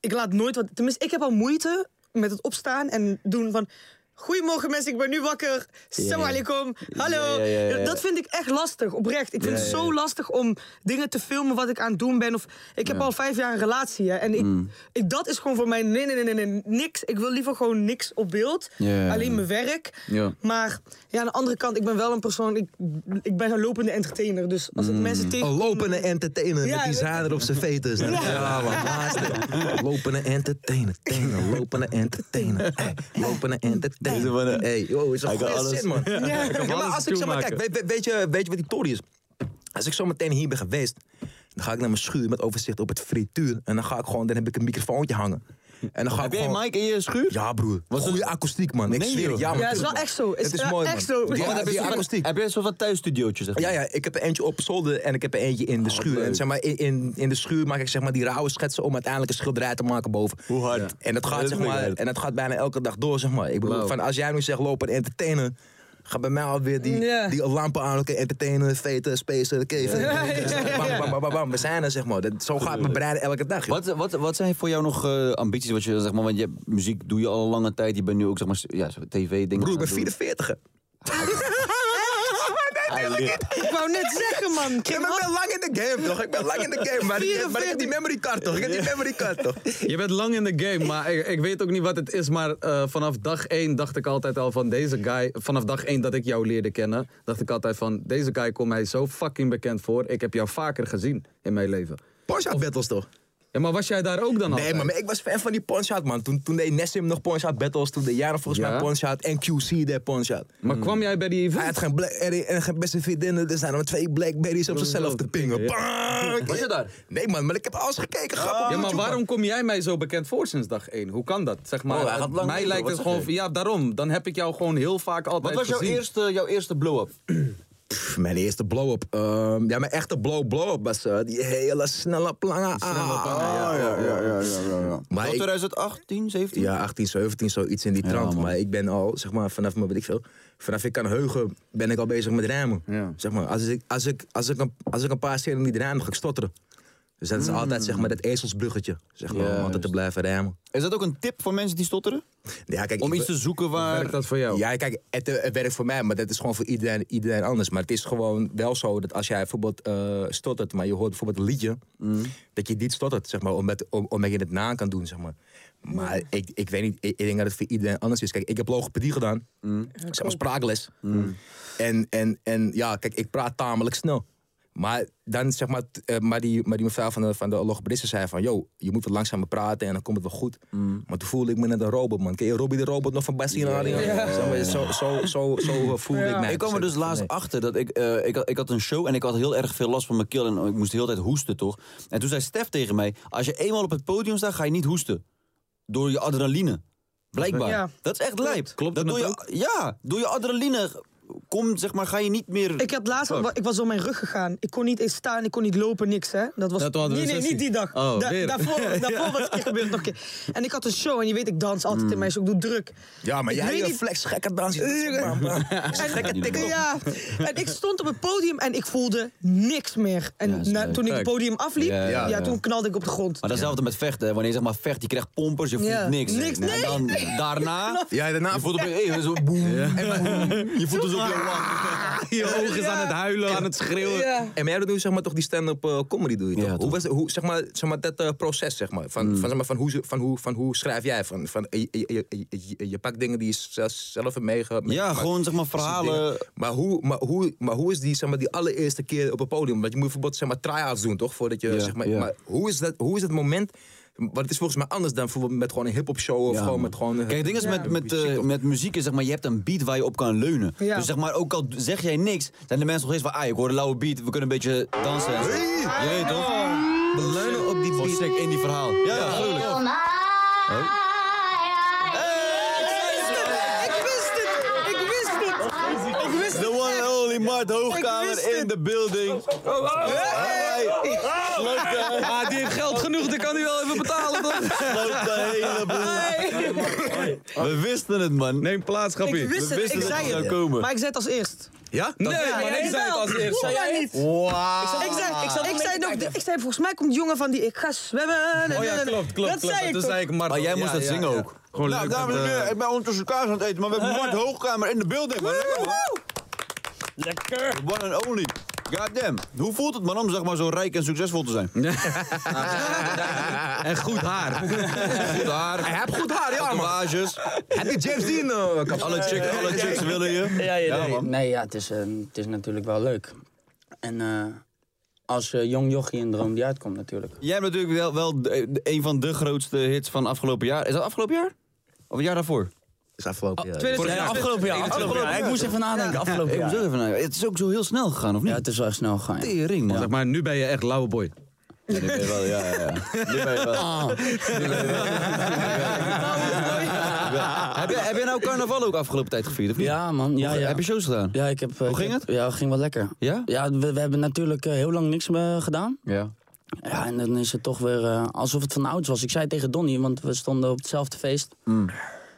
[SPEAKER 6] ik laat nooit wat... Tenminste, ik heb al moeite met het opstaan en doen van... Goedemorgen mensen, ik ben nu wakker. Salam alaikum. Hallo.
[SPEAKER 4] Ja, ja, ja, ja.
[SPEAKER 6] Dat vind ik echt lastig, oprecht. Ik vind het zo lastig om dingen te filmen wat ik aan het doen ben. Of, ik heb al vijf jaar een relatie hè, en ik, ik, dat is gewoon voor mij nee, nee, nee, nee, nee, niks. Ik wil liever gewoon niks op beeld.
[SPEAKER 4] Ja.
[SPEAKER 6] Alleen mijn werk.
[SPEAKER 5] Ja.
[SPEAKER 6] Maar ja, aan de andere kant, ik ben wel een persoon... Ik, ik ben een lopende entertainer, dus als ik mensen tegen...
[SPEAKER 7] Een lopende entertainer
[SPEAKER 6] Ja,
[SPEAKER 7] met die
[SPEAKER 6] dat-
[SPEAKER 7] zader op zijn veters. Ja, man. laatste. Lopende entertainer. Tainer, lopende entertainer. Hey, lopende entertainer. Hey, yo, is een
[SPEAKER 4] kan
[SPEAKER 7] goede
[SPEAKER 4] alles-
[SPEAKER 7] zin, man.
[SPEAKER 6] Ja. Ik kan
[SPEAKER 7] Ja, maar
[SPEAKER 5] alles
[SPEAKER 7] als ik zeg maar,
[SPEAKER 5] toemaken.
[SPEAKER 7] kijk, weet, weet- weet je, weet je wat die tory is? Als ik zo meteen hier ben geweest, dan ga ik naar mijn schuur met overzicht op het frituur. En dan ga ik gewoon, dan heb ik een microfoontje hangen. En dan ga
[SPEAKER 4] Heb
[SPEAKER 7] ik
[SPEAKER 4] jij
[SPEAKER 6] Oh.
[SPEAKER 7] gewoon...
[SPEAKER 4] Mike in je schuur?
[SPEAKER 7] Ja, broer.
[SPEAKER 4] Was
[SPEAKER 7] Goede
[SPEAKER 4] het-
[SPEAKER 7] akoestiek, man. Ik
[SPEAKER 4] Nee,
[SPEAKER 7] zweer
[SPEAKER 4] joh.
[SPEAKER 7] het. Ja, man,
[SPEAKER 6] Ja, het is wel
[SPEAKER 7] tuurlijk.
[SPEAKER 6] echt zo. Het is
[SPEAKER 7] Het is
[SPEAKER 6] wel
[SPEAKER 7] mooi,
[SPEAKER 6] echt
[SPEAKER 7] man.
[SPEAKER 6] zo.
[SPEAKER 7] Die-
[SPEAKER 6] Ja,
[SPEAKER 4] Want
[SPEAKER 7] die
[SPEAKER 4] heb, je zo'n van,
[SPEAKER 7] akoestiek.
[SPEAKER 4] heb je zo'n van thuis studiootje, zeg maar?
[SPEAKER 7] Ja, ja, ik heb er eentje op zolder en ik heb er eentje in de schuur. En zeg maar, in, in, in de schuur maak ik zeg maar, die rauwe schetsen om uiteindelijk een schilderij te maken boven.
[SPEAKER 4] Hoe hard?
[SPEAKER 7] En dat gaat,
[SPEAKER 4] Dat
[SPEAKER 7] zeg
[SPEAKER 4] vind ik
[SPEAKER 7] maar,
[SPEAKER 4] hard.
[SPEAKER 7] en dat gaat bijna elke dag door. Zeg maar. Ik bedoel,
[SPEAKER 5] Wauw.
[SPEAKER 7] van, als jij nu zegt lopen en entertainen, ga bij mij alweer die,
[SPEAKER 6] Ja.
[SPEAKER 7] die lampen aan. Oké, entertainen, veten, spacen, oké.
[SPEAKER 6] Ja, ja, ja, ja.
[SPEAKER 7] Bam, bam, bam, bam, we zijn er, zeg maar. Dat, zo gaat mijn brein elke dag. joh.
[SPEAKER 4] Wat, wat, wat zijn voor jou nog eh, ambities? Wat je, zeg maar, want je, hebt- muziek doe je al een lange tijd. Je bent nu ook zeg maar, ja, tv-dingen.
[SPEAKER 7] Broer, ik ben 44.
[SPEAKER 6] Ik wou net zeggen, man.
[SPEAKER 7] Ja, maar ik ben lang in de game, toch? Ik ben lang in de game. Maar, ik, maar ik heb die memory card, toch? Ik heb die memory card, toch?
[SPEAKER 5] Je bent lang in de game, maar ik, ik weet ook niet wat het is. Maar eh, vanaf dag één dacht ik altijd al van deze guy. Vanaf dag één dat ik jou leerde kennen, dacht ik altijd van deze guy komt mij zo fucking bekend voor. Ik heb jou vaker gezien in mijn leven.
[SPEAKER 7] Porsche had battles, toch?
[SPEAKER 5] Ja, maar was jij daar ook dan al?
[SPEAKER 7] Nee, maar ik was fan van die Ponshot, man. Toen, toen deed Nessim nog Ponshot battles. Toen deed Jaren volgens
[SPEAKER 5] Ja?
[SPEAKER 7] mij Ponshot. En QC deed Ponshot.
[SPEAKER 5] Maar kwam jij bij die
[SPEAKER 7] Hij
[SPEAKER 5] event?
[SPEAKER 7] had geen Blackberry en geen beste vriendinnen. Er zijn er maar twee Blackberries op zichzelf te pingen. Bang!
[SPEAKER 4] Was je daar?
[SPEAKER 7] Nee, man, maar ik heb alles gekeken. Grap op
[SPEAKER 5] Ja, maar
[SPEAKER 7] YouTube,
[SPEAKER 5] waarom kom jij mij zo bekend voor sinds dag één? Hoe kan dat? Zeg maar,
[SPEAKER 4] Oh, hij gaat lang
[SPEAKER 5] mij
[SPEAKER 4] mee,
[SPEAKER 5] lijkt
[SPEAKER 4] wat
[SPEAKER 5] het
[SPEAKER 4] zeg
[SPEAKER 5] gewoon...
[SPEAKER 4] jij?
[SPEAKER 5] Ja, daarom. Dan heb ik jou gewoon heel vaak altijd
[SPEAKER 4] Wat was jouw
[SPEAKER 5] gezien.
[SPEAKER 4] eerste, jouw eerste blow-up?
[SPEAKER 7] Pff, mijn eerste blow-up. Ehm, ja, mijn echte blow- blow-up was eh, die hele snelle lange ah.
[SPEAKER 4] Oh, ja, ja, ja,
[SPEAKER 7] Maar ik-
[SPEAKER 4] 2018, 17?
[SPEAKER 7] Ja, 18, 17, zoiets in die trant.
[SPEAKER 4] man.
[SPEAKER 7] maar ik ben al, zeg maar, vanaf mijn, weet ik veel, vanaf ik kan heugen, ben ik al bezig met rijmen.
[SPEAKER 5] Ja.
[SPEAKER 7] Zeg maar, als ik, als, ik, als, ik een, als ik een paar zinnen niet rijm, ga ik stotteren. Dus dat is altijd, zeg
[SPEAKER 4] Hmm.
[SPEAKER 7] maar, dat ezelsbruggetje, zeg maar, om altijd te blijven rijmen.
[SPEAKER 4] Is dat ook een tip voor mensen die stotteren?
[SPEAKER 7] Ja, kijk,
[SPEAKER 4] Om
[SPEAKER 7] ik-
[SPEAKER 4] iets te zoeken
[SPEAKER 5] Werkt
[SPEAKER 4] waar...
[SPEAKER 5] dat voor jou?
[SPEAKER 7] ja, kijk, het, eh, het werkt voor mij, maar dat is gewoon voor iedereen, iedereen anders. Maar het is gewoon wel zo dat als jij bijvoorbeeld eh, stottert, maar je hoort bijvoorbeeld een liedje,
[SPEAKER 5] Mm.
[SPEAKER 7] dat je niet stottert, zeg maar, omdat, om, omdat je het na kan doen, zeg maar. Maar ik, ik weet niet, ik, ik denk dat het voor iedereen anders is. Kijk, ik heb logopedie gedaan,
[SPEAKER 5] Mm.
[SPEAKER 1] Mm.
[SPEAKER 7] Mm. zeg maar spraakles. En, en, en ja, kijk, ik praat tamelijk snel. Maar dan zeg maar, t- eh, maar, die, maar die mevrouw van de, van de logopediste zei van... ...joh, je moet wat langzamer praten en dan komt het wel goed.
[SPEAKER 1] Mm.
[SPEAKER 7] Maar toen voelde ik me net een robot, man. Ken je Robbie de Robot nog van Bastien en Adriaan? Zeg maar, Zo, zo, zo, zo eh, voelde ik mij.
[SPEAKER 4] Ik kwam er dus laatst
[SPEAKER 7] Nee.
[SPEAKER 4] achter dat ik, eh, ik, had- ik had een show en ik had heel erg veel last van mijn keel en ik moest de hele tijd hoesten, toch? En toen zei Stef tegen mij: Als je eenmaal op het podium staat, ga je niet hoesten. Door je adrenaline. Blijkbaar.
[SPEAKER 6] Ja.
[SPEAKER 4] Dat is echt lijp.
[SPEAKER 1] Klopt
[SPEAKER 4] dat
[SPEAKER 1] dat
[SPEAKER 4] door je, Ja, door je adrenaline komt, zeg maar, ga je niet meer.
[SPEAKER 6] Ik had laatst, ik was door mijn rug gegaan. Ik kon niet eens staan, ik kon niet lopen, niks hè. Dat was,
[SPEAKER 1] Ja, toen hadden
[SPEAKER 6] nee,
[SPEAKER 1] we
[SPEAKER 6] nee,
[SPEAKER 1] een
[SPEAKER 6] niet die dag.
[SPEAKER 1] sessie. Oh,
[SPEAKER 6] Da-
[SPEAKER 1] weer.
[SPEAKER 6] daarvoor daarvoor was het een keer gebeurd, nog een keer. En ik had een show en je weet, ik dans altijd
[SPEAKER 1] Mm.
[SPEAKER 6] in mijn show, ik doe druk.
[SPEAKER 7] Ja, maar
[SPEAKER 6] Ik
[SPEAKER 7] jij
[SPEAKER 6] weet
[SPEAKER 7] eh,
[SPEAKER 6] niet-
[SPEAKER 7] flex gekke dans.
[SPEAKER 6] En, ja, en ik stond op het podium en ik voelde niks meer. En
[SPEAKER 4] is
[SPEAKER 6] na-
[SPEAKER 4] leuk.
[SPEAKER 6] toen ik het podium afliep,
[SPEAKER 4] Ja,
[SPEAKER 6] ja,
[SPEAKER 4] ja, ja.
[SPEAKER 6] toen knalde ik op de grond.
[SPEAKER 4] Maar datzelfde met vechten. hè. Wanneer je zeg maar vecht, je krijgt pompers, je voelt
[SPEAKER 6] Ja.
[SPEAKER 4] niks.
[SPEAKER 6] Niks, nee.
[SPEAKER 4] En dan daarna.
[SPEAKER 7] Ja, daarna
[SPEAKER 4] Je voelt op hey, zo boem. Je voelt alsof je
[SPEAKER 1] Je ogen is aan het huilen, aan het schreeuwen.
[SPEAKER 6] Ja.
[SPEAKER 7] En maar jij doet nu zeg maar toch die stand-up eh, comedy doe je
[SPEAKER 4] Ja,
[SPEAKER 7] toch?
[SPEAKER 4] toch. Mm.
[SPEAKER 7] Hoe was hoe, zeg maar, zeg maar dat eh, proces zeg maar van, van, zeg maar, van, hoe, ze- van, hoe, van hoe schrijf jij van, van je, je, je, je- je pakt dingen die je zelf, zelf hebt meege- meegemaakt.
[SPEAKER 4] Ja, gewoon zeg maar
[SPEAKER 7] Dat soort
[SPEAKER 4] verhalen.
[SPEAKER 7] dingen. Maar hoe, maar, hoe, maar hoe is die zeg maar die allereerste keer op het podium? Want je moet bijvoorbeeld zeg maar try-outs doen toch voordat je
[SPEAKER 4] Ja,
[SPEAKER 7] zeg maar,
[SPEAKER 4] ja.
[SPEAKER 7] maar hoe is dat hoe is dat moment? Want het is volgens mij anders dan bijvoorbeeld met gewoon een hip-hop show of
[SPEAKER 4] Ja,
[SPEAKER 7] gewoon
[SPEAKER 4] man.
[SPEAKER 7] met gewoon eh,
[SPEAKER 4] Kijk, het ding is met, met, eh,
[SPEAKER 7] muziek, toch?
[SPEAKER 4] met muziek, is, zeg maar, je hebt een beat waar je op kan leunen.
[SPEAKER 6] Ja.
[SPEAKER 4] Dus zeg maar, ook al zeg jij niks, zijn de mensen nog steeds van, ah, ik hoor een lauwe beat, we kunnen een beetje dansen. en zo. Je weet toch?
[SPEAKER 7] We leunen op die
[SPEAKER 4] Gewoon
[SPEAKER 7] beat.
[SPEAKER 4] sick in die verhaal. Ja, ja, tuurlijk.
[SPEAKER 6] Ik wist het! Ik wist het! Ik wist
[SPEAKER 4] The
[SPEAKER 6] het!
[SPEAKER 4] one and only Mart
[SPEAKER 6] Ik wist
[SPEAKER 4] Hoogkamer
[SPEAKER 6] het.
[SPEAKER 4] in the building.
[SPEAKER 1] Ah, die heeft geld genoeg, dan kan hij wel even betalen. toch?
[SPEAKER 4] Sloot de hele boel. We wisten het, man.
[SPEAKER 1] Neem plaats, grappie.
[SPEAKER 6] Ik wist
[SPEAKER 4] We
[SPEAKER 6] het,
[SPEAKER 4] wisten
[SPEAKER 6] ik
[SPEAKER 4] dat het
[SPEAKER 6] zei
[SPEAKER 4] zou
[SPEAKER 6] het.
[SPEAKER 4] komen.
[SPEAKER 6] Maar ik zei het als eerst.
[SPEAKER 7] Ja?
[SPEAKER 1] Nee,
[SPEAKER 7] Dat-
[SPEAKER 1] man, ik zei het als eerst.
[SPEAKER 6] Jij niet. Ik zei, ik, zei, ik, zei nog, ik zei, volgens mij komt die jongen van die ik ga zwemmen.
[SPEAKER 1] Oh ja, klopt, klopt.
[SPEAKER 6] Dat
[SPEAKER 1] klopt.
[SPEAKER 6] zei ik
[SPEAKER 1] Toen
[SPEAKER 6] toch?
[SPEAKER 1] zei ik Marco.
[SPEAKER 4] Maar Oh, jij moest
[SPEAKER 1] Ja,
[SPEAKER 4] dat
[SPEAKER 1] ja,
[SPEAKER 4] zingen
[SPEAKER 1] ja.
[SPEAKER 4] ook.
[SPEAKER 1] Gewoon
[SPEAKER 4] nou,
[SPEAKER 1] leuk.
[SPEAKER 4] dames en
[SPEAKER 1] want, eh,
[SPEAKER 4] heren, ik ben ondertussen kaars aan het eten, maar we hebben Mart Hoogkamer in de building. man. Lekker, man.
[SPEAKER 8] Lekker.
[SPEAKER 4] The one and only. Goddamn. Hoe voelt het, man, om zeg maar zo rijk en succesvol te zijn?
[SPEAKER 1] En goed haar.
[SPEAKER 4] Goed haar. Hij heeft goed haar, ja, Tatoeages.
[SPEAKER 7] Heb je James Dean eh, kapot?
[SPEAKER 4] Alle, chicks, alle chicks willen je.
[SPEAKER 8] Ja, ja, nee,
[SPEAKER 4] man.
[SPEAKER 8] nee, ja, het is, eh, het is natuurlijk wel leuk. En eh, als eh, jong jochie een droom die uitkomt natuurlijk.
[SPEAKER 4] Jij hebt natuurlijk wel, wel de- de- een van de grootste hits van afgelopen jaar. Is dat afgelopen jaar? Of het jaar daarvoor?
[SPEAKER 7] Is afgelopen. ja.
[SPEAKER 8] Ja, afgelopen jaar. Afgelopen jaar. Ik moest even nadenken. Afgelopen
[SPEAKER 4] Ik moet
[SPEAKER 8] jaar.
[SPEAKER 4] zo even naar- Het is ook zo heel snel gegaan, of niet?
[SPEAKER 8] Ja, het is wel echt snel gegaan. ja.
[SPEAKER 4] Tering, man.
[SPEAKER 1] Zeg maar, nu ben je echt lauwe boy.
[SPEAKER 4] Ja, nu ben je wel, ja, ja, ja. Nu ben je wel. Nu ben je wel. Heb jij- Heb jij nou carnaval ook afgelopen tijd gevierd, of niet?
[SPEAKER 8] Ja, man. Ja, ja.
[SPEAKER 4] Heb je shows gedaan?
[SPEAKER 8] Ja, ik heb... Hoe
[SPEAKER 4] ging het?
[SPEAKER 8] Ja, het ging wel lekker.
[SPEAKER 4] Ja?
[SPEAKER 8] Ja, we, we hebben natuurlijk eh, heel lang niks meer gedaan.
[SPEAKER 4] Ja.
[SPEAKER 8] Ja, en dan is het toch weer eh, alsof het van ouds was. Ik zei tegen Donnie, want we stonden op hetzelfde feest.
[SPEAKER 7] Mm.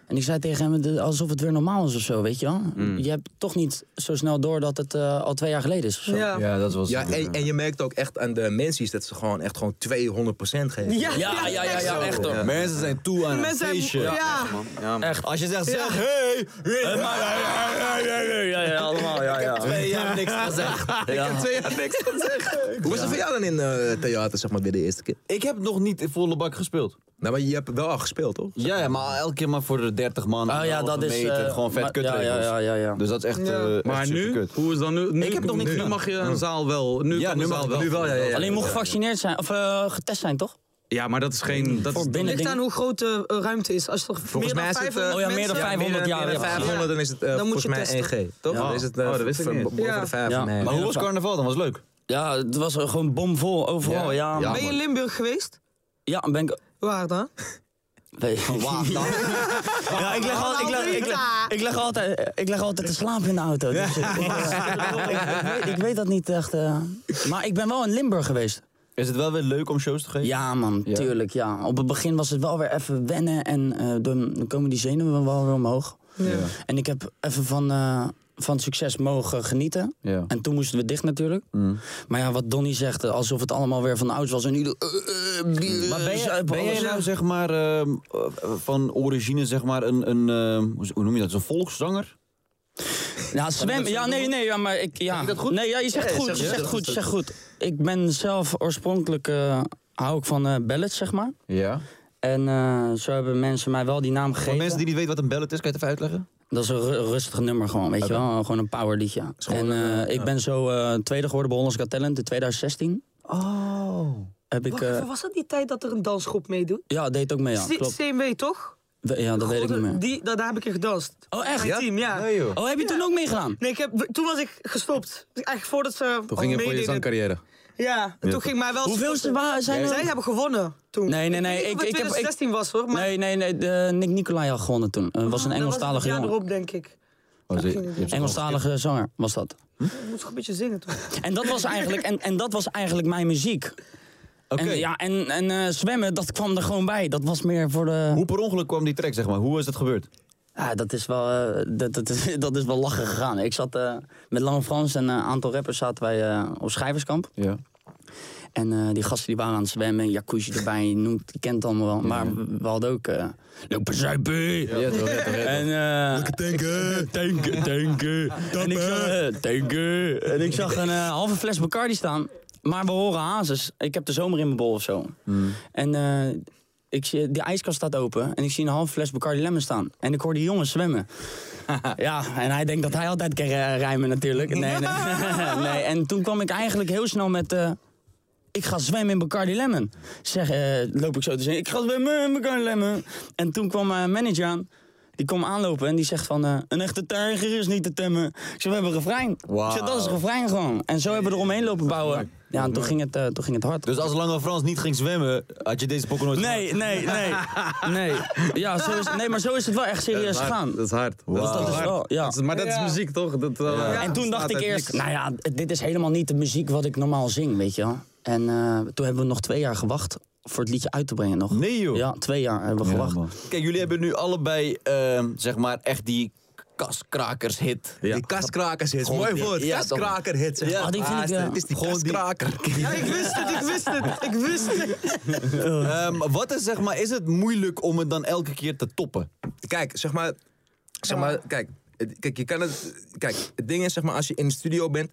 [SPEAKER 8] En ik zei tegen hem de- alsof het weer normaal is of zo, weet je wel.
[SPEAKER 7] Mm.
[SPEAKER 8] Je hebt toch niet zo snel door dat het eh, al twee jaar geleden is of zo.
[SPEAKER 6] Ja.
[SPEAKER 4] dat was
[SPEAKER 7] Ja, en, en je merkt ook echt aan de mensen dat ze gewoon echt gewoon 200% geven.
[SPEAKER 6] Ja,
[SPEAKER 8] Ja, ja, ja, ja, echt hoor.
[SPEAKER 4] Mensen zijn toe aan
[SPEAKER 6] Mensen
[SPEAKER 4] een
[SPEAKER 6] zijn-
[SPEAKER 4] feestje.
[SPEAKER 6] ja.
[SPEAKER 4] Echt. Als je zegt, zeg, hey, hey, maar-
[SPEAKER 8] Ja, ja, allemaal, ja, ja.
[SPEAKER 4] twee jaar niks gezegd.
[SPEAKER 7] Twee jaar niks te zeggen. Hoe was het voor jou dan in eh theater, zeg maar, weer de eerste keer?
[SPEAKER 4] Ik heb nog niet in volle bak gespeeld.
[SPEAKER 7] Nou, maar je hebt wel al gespeeld, toch?
[SPEAKER 4] Ja, ja, maar elke keer maar voor de 30 man.
[SPEAKER 8] Oh ja,
[SPEAKER 4] Anderhalve
[SPEAKER 8] dat is...
[SPEAKER 4] meter,
[SPEAKER 8] eh,
[SPEAKER 4] gewoon vet
[SPEAKER 8] maar-
[SPEAKER 4] kut
[SPEAKER 8] ja, ja, ja, ja, ja.
[SPEAKER 4] Dus dat is echt, eh, echt
[SPEAKER 1] Maar nu,
[SPEAKER 4] superkut.
[SPEAKER 1] hoe is dat nu? nu
[SPEAKER 4] Ik heb nog niet
[SPEAKER 1] Nu
[SPEAKER 4] gedaan.
[SPEAKER 1] mag je een zaal wel. Nu
[SPEAKER 4] Ja,
[SPEAKER 1] kan
[SPEAKER 4] nu
[SPEAKER 1] een
[SPEAKER 4] mag
[SPEAKER 1] zaal
[SPEAKER 4] ik
[SPEAKER 1] wel.
[SPEAKER 4] nu wel, ja, ja, ja.
[SPEAKER 8] Alleen je moet gevaccineerd zijn, of eh, getest zijn, toch?
[SPEAKER 1] Ja, maar dat is geen... Dat is,
[SPEAKER 8] Voor binnen
[SPEAKER 6] Ligt aan
[SPEAKER 8] dingen.
[SPEAKER 6] hoe groot de eh, ruimte is. Als toch
[SPEAKER 7] Volgens
[SPEAKER 6] meer
[SPEAKER 7] mij
[SPEAKER 6] dan
[SPEAKER 7] is het,
[SPEAKER 6] 500
[SPEAKER 8] oh ja, meer dan
[SPEAKER 6] mensen-
[SPEAKER 8] 500
[SPEAKER 7] Meer dan-
[SPEAKER 8] jaar,
[SPEAKER 7] meer dan
[SPEAKER 8] ja.
[SPEAKER 7] 500, dan is het eh,
[SPEAKER 6] Dan moet
[SPEAKER 7] volgens
[SPEAKER 6] je
[SPEAKER 7] mij
[SPEAKER 6] testen.
[SPEAKER 7] 1G, toch?
[SPEAKER 1] Ja.
[SPEAKER 7] Dan is het eh,
[SPEAKER 1] Oh, dat wist ik
[SPEAKER 7] ver-
[SPEAKER 1] niet.
[SPEAKER 7] boven
[SPEAKER 6] Ja.
[SPEAKER 7] de 5
[SPEAKER 8] Ja.
[SPEAKER 7] nee.
[SPEAKER 4] Maar hoe was
[SPEAKER 8] Ja,
[SPEAKER 4] carnaval dan? Was leuk.
[SPEAKER 8] Ja, het was gewoon bomvol overal, ja.
[SPEAKER 4] Ja.
[SPEAKER 8] Ja,
[SPEAKER 6] Ben je in Limburg geweest?
[SPEAKER 8] ben ik...
[SPEAKER 6] Waar dan?
[SPEAKER 8] Nee.
[SPEAKER 4] Ah,
[SPEAKER 8] Ja, ik leg, al, ik, leg, ik, leg, ik, leg altijd, ik leg altijd te slapen in de auto. Dus ik, ik, weet, ik weet dat niet echt. eh. Maar ik ben wel in Limburg geweest.
[SPEAKER 4] Is het wel weer leuk om shows te geven?
[SPEAKER 8] Ja, man, tuurlijk. Ja. Op het begin was het wel weer even wennen. En eh, dan dan komen die zenuwen wel weer omhoog. En ik heb even van, eh, van succes mogen genieten.
[SPEAKER 4] Ja.
[SPEAKER 8] En toen moesten we dicht natuurlijk. Maar ja, wat Donnie zegt, eh, alsof het allemaal weer van ouds was. En nu... eh, eh, oh, die-
[SPEAKER 4] Maar ben je,
[SPEAKER 8] zuipen,
[SPEAKER 4] ben jij
[SPEAKER 8] alles,
[SPEAKER 4] nou
[SPEAKER 8] ja.
[SPEAKER 4] zeg maar ehm, eh, van origine zeg maar een, een ehm, hoe- hoe noem je dat, een volkszanger?
[SPEAKER 8] Ja, zwemmen. Ja, nee, nee, ja, maar ik. Ja.
[SPEAKER 4] ik dat goed?
[SPEAKER 8] Nee, ja, je zegt goed. Je zegt goed, je zegt goed. Ik ben zelf oorspronkelijk. eh, hou ik van eh ballads, zeg maar.
[SPEAKER 4] Ja.
[SPEAKER 8] En eh, zo hebben mensen mij wel die naam
[SPEAKER 4] Voor
[SPEAKER 8] gegeven.
[SPEAKER 4] mensen die niet weten wat een bellet is, kan je het even uitleggen?
[SPEAKER 8] Dat is een ru- rustig nummer gewoon, weet je wel. Gewoon een power liedje. En eh, ik ben zo eh, tweede geworden bij Hollands Got Talent in 2016.
[SPEAKER 6] Oh.
[SPEAKER 8] Heb ik,
[SPEAKER 6] Wacht
[SPEAKER 8] eh,
[SPEAKER 6] even, was dat die tijd dat er een dansgroep meedoet?
[SPEAKER 8] ja, deed ook mee, ja.
[SPEAKER 6] C-
[SPEAKER 8] Klopt.
[SPEAKER 6] CMW, toch?
[SPEAKER 8] We- Ja, dat weet ik niet meer.
[SPEAKER 6] Die, daar, daar heb ik in gedanst.
[SPEAKER 8] Oh, echt?
[SPEAKER 6] Mijn team, ja.
[SPEAKER 4] Nee, joh.
[SPEAKER 8] Oh, heb je toen ook meegedaan?
[SPEAKER 6] Nee, ik heb, toen was ik gestopt. Dus Eigenlijk voordat ze
[SPEAKER 5] Toen
[SPEAKER 6] al
[SPEAKER 5] ging je voor je
[SPEAKER 6] meededen.
[SPEAKER 5] zangcarrière.
[SPEAKER 6] Ja, en toen ging mij wel...
[SPEAKER 8] Hoeveelste wa- zijn er?
[SPEAKER 6] Zij hebben gewonnen toen.
[SPEAKER 8] Nee, nee, nee.
[SPEAKER 6] Ik,
[SPEAKER 8] Ik, ik heb, ik,
[SPEAKER 6] 2016 was hoor, maar
[SPEAKER 8] nee, nee, nee. de Nick Nicolai had gewonnen toen. Eh, was een
[SPEAKER 6] dat was het
[SPEAKER 8] Engelstalige
[SPEAKER 6] jaar
[SPEAKER 8] jongen.
[SPEAKER 6] erop, denk ik.
[SPEAKER 8] Engelstalige zanger was dat.
[SPEAKER 6] Ik moet toch een beetje zingen toch?
[SPEAKER 8] En dat was eigenlijk, en, en dat was eigenlijk mijn muziek.
[SPEAKER 4] Oké.
[SPEAKER 8] En, ja, en, en eh, zwemmen, dat kwam er gewoon bij. Dat was meer voor de...
[SPEAKER 4] Hoe per ongeluk kwam die track, zeg maar? Hoe is dat gebeurd?
[SPEAKER 8] Ja, dat is wel, eh, dat, dat, is- dat is wel lachen gegaan. Ik zat eh, met Lange Frans en eh, een aantal rappers zaten wij eh, op schrijverskamp.
[SPEAKER 4] Ja.
[SPEAKER 8] En eh, die gasten die waren aan het zwemmen, een jacuzzi erbij, je noemt, je kent het allemaal wel. Maar we, we hadden ook... eh Lopen zuipen!
[SPEAKER 4] Ja, toch, ja, toch, ja, toch.
[SPEAKER 8] En, eh tanken, tanken, tanken. En ik zag, eh, tanken. En ik zag een eh, halve fles Bacardi staan. Maar we horen hazes. Ik heb de zomer in mijn bol of zo. En eh, ik zie, die ijskast staat open. En ik zie een halve fles Bacardi Lemon staan. En ik hoor die jongen zwemmen. ja, en hij denkt dat hij altijd kan eh, rijmen natuurlijk. Nee, nee. nee. En toen kwam ik eigenlijk heel snel met... eh, ik ga zwemmen in Bacardi Lemon. Zeg, eh, loop ik zo te zeggen, ik ga zwemmen in Bacardi Lemon. En toen kwam mijn manager aan, die kwam aanlopen en die zegt van... eh, een echte tijger is niet te temmen. Ik zeg, we hebben een refrein. Ik zeg, dat is een refrein gewoon. En zo hebben we eromheen lopen bouwen. Ja, en toen ging het, eh, toen ging het hard.
[SPEAKER 4] Dus als Lange Frans niet ging zwemmen, had je deze pokken nooit
[SPEAKER 8] Nee, nee, nee. Nee. Ja, zo is, nee, maar zo is het wel echt serieus
[SPEAKER 5] dat is hard.
[SPEAKER 8] gegaan.
[SPEAKER 5] Dat is hard.
[SPEAKER 8] Dus dat
[SPEAKER 5] toch
[SPEAKER 8] is
[SPEAKER 5] hard?
[SPEAKER 8] wel, ja.
[SPEAKER 5] Dat is- maar dat is muziek toch? Dat, eh,
[SPEAKER 8] En toen dacht
[SPEAKER 5] staat
[SPEAKER 8] ik
[SPEAKER 5] uit
[SPEAKER 8] eerst,
[SPEAKER 5] niks.
[SPEAKER 8] nou ja, dit is helemaal niet de muziek wat ik normaal zing, weet je wel. En eh, toen hebben we nog twee jaar gewacht voor het liedje uit te brengen nog.
[SPEAKER 4] Nee, joh.
[SPEAKER 8] Ja, twee jaar eh, hebben we gewacht.
[SPEAKER 4] Kijk, jullie hebben nu allebei, ehm, zeg maar, echt die kaskrakers-hit.
[SPEAKER 7] Die kaskrakershit,
[SPEAKER 4] Gewoon
[SPEAKER 7] mooi
[SPEAKER 4] die-
[SPEAKER 7] woord.
[SPEAKER 4] ja,
[SPEAKER 7] Ja,
[SPEAKER 4] dat-
[SPEAKER 7] kaskrakerhit. zeg
[SPEAKER 4] Ja,
[SPEAKER 7] maar.
[SPEAKER 8] die vind
[SPEAKER 7] Ah,
[SPEAKER 5] eh,
[SPEAKER 8] ik, eh, ja.
[SPEAKER 7] Het is die
[SPEAKER 4] Gewoon die-
[SPEAKER 7] kaskraker.
[SPEAKER 6] Ja, ik wist het, ik wist het, ik wist het.
[SPEAKER 5] Oh.
[SPEAKER 4] Ehm, wat is, zeg maar, is het moeilijk om het dan elke keer te toppen?
[SPEAKER 7] Kijk, zeg maar. Zeg maar, kijk. het- Kijk, je kan het. Kijk, het ding is, zeg maar, als je in de studio bent.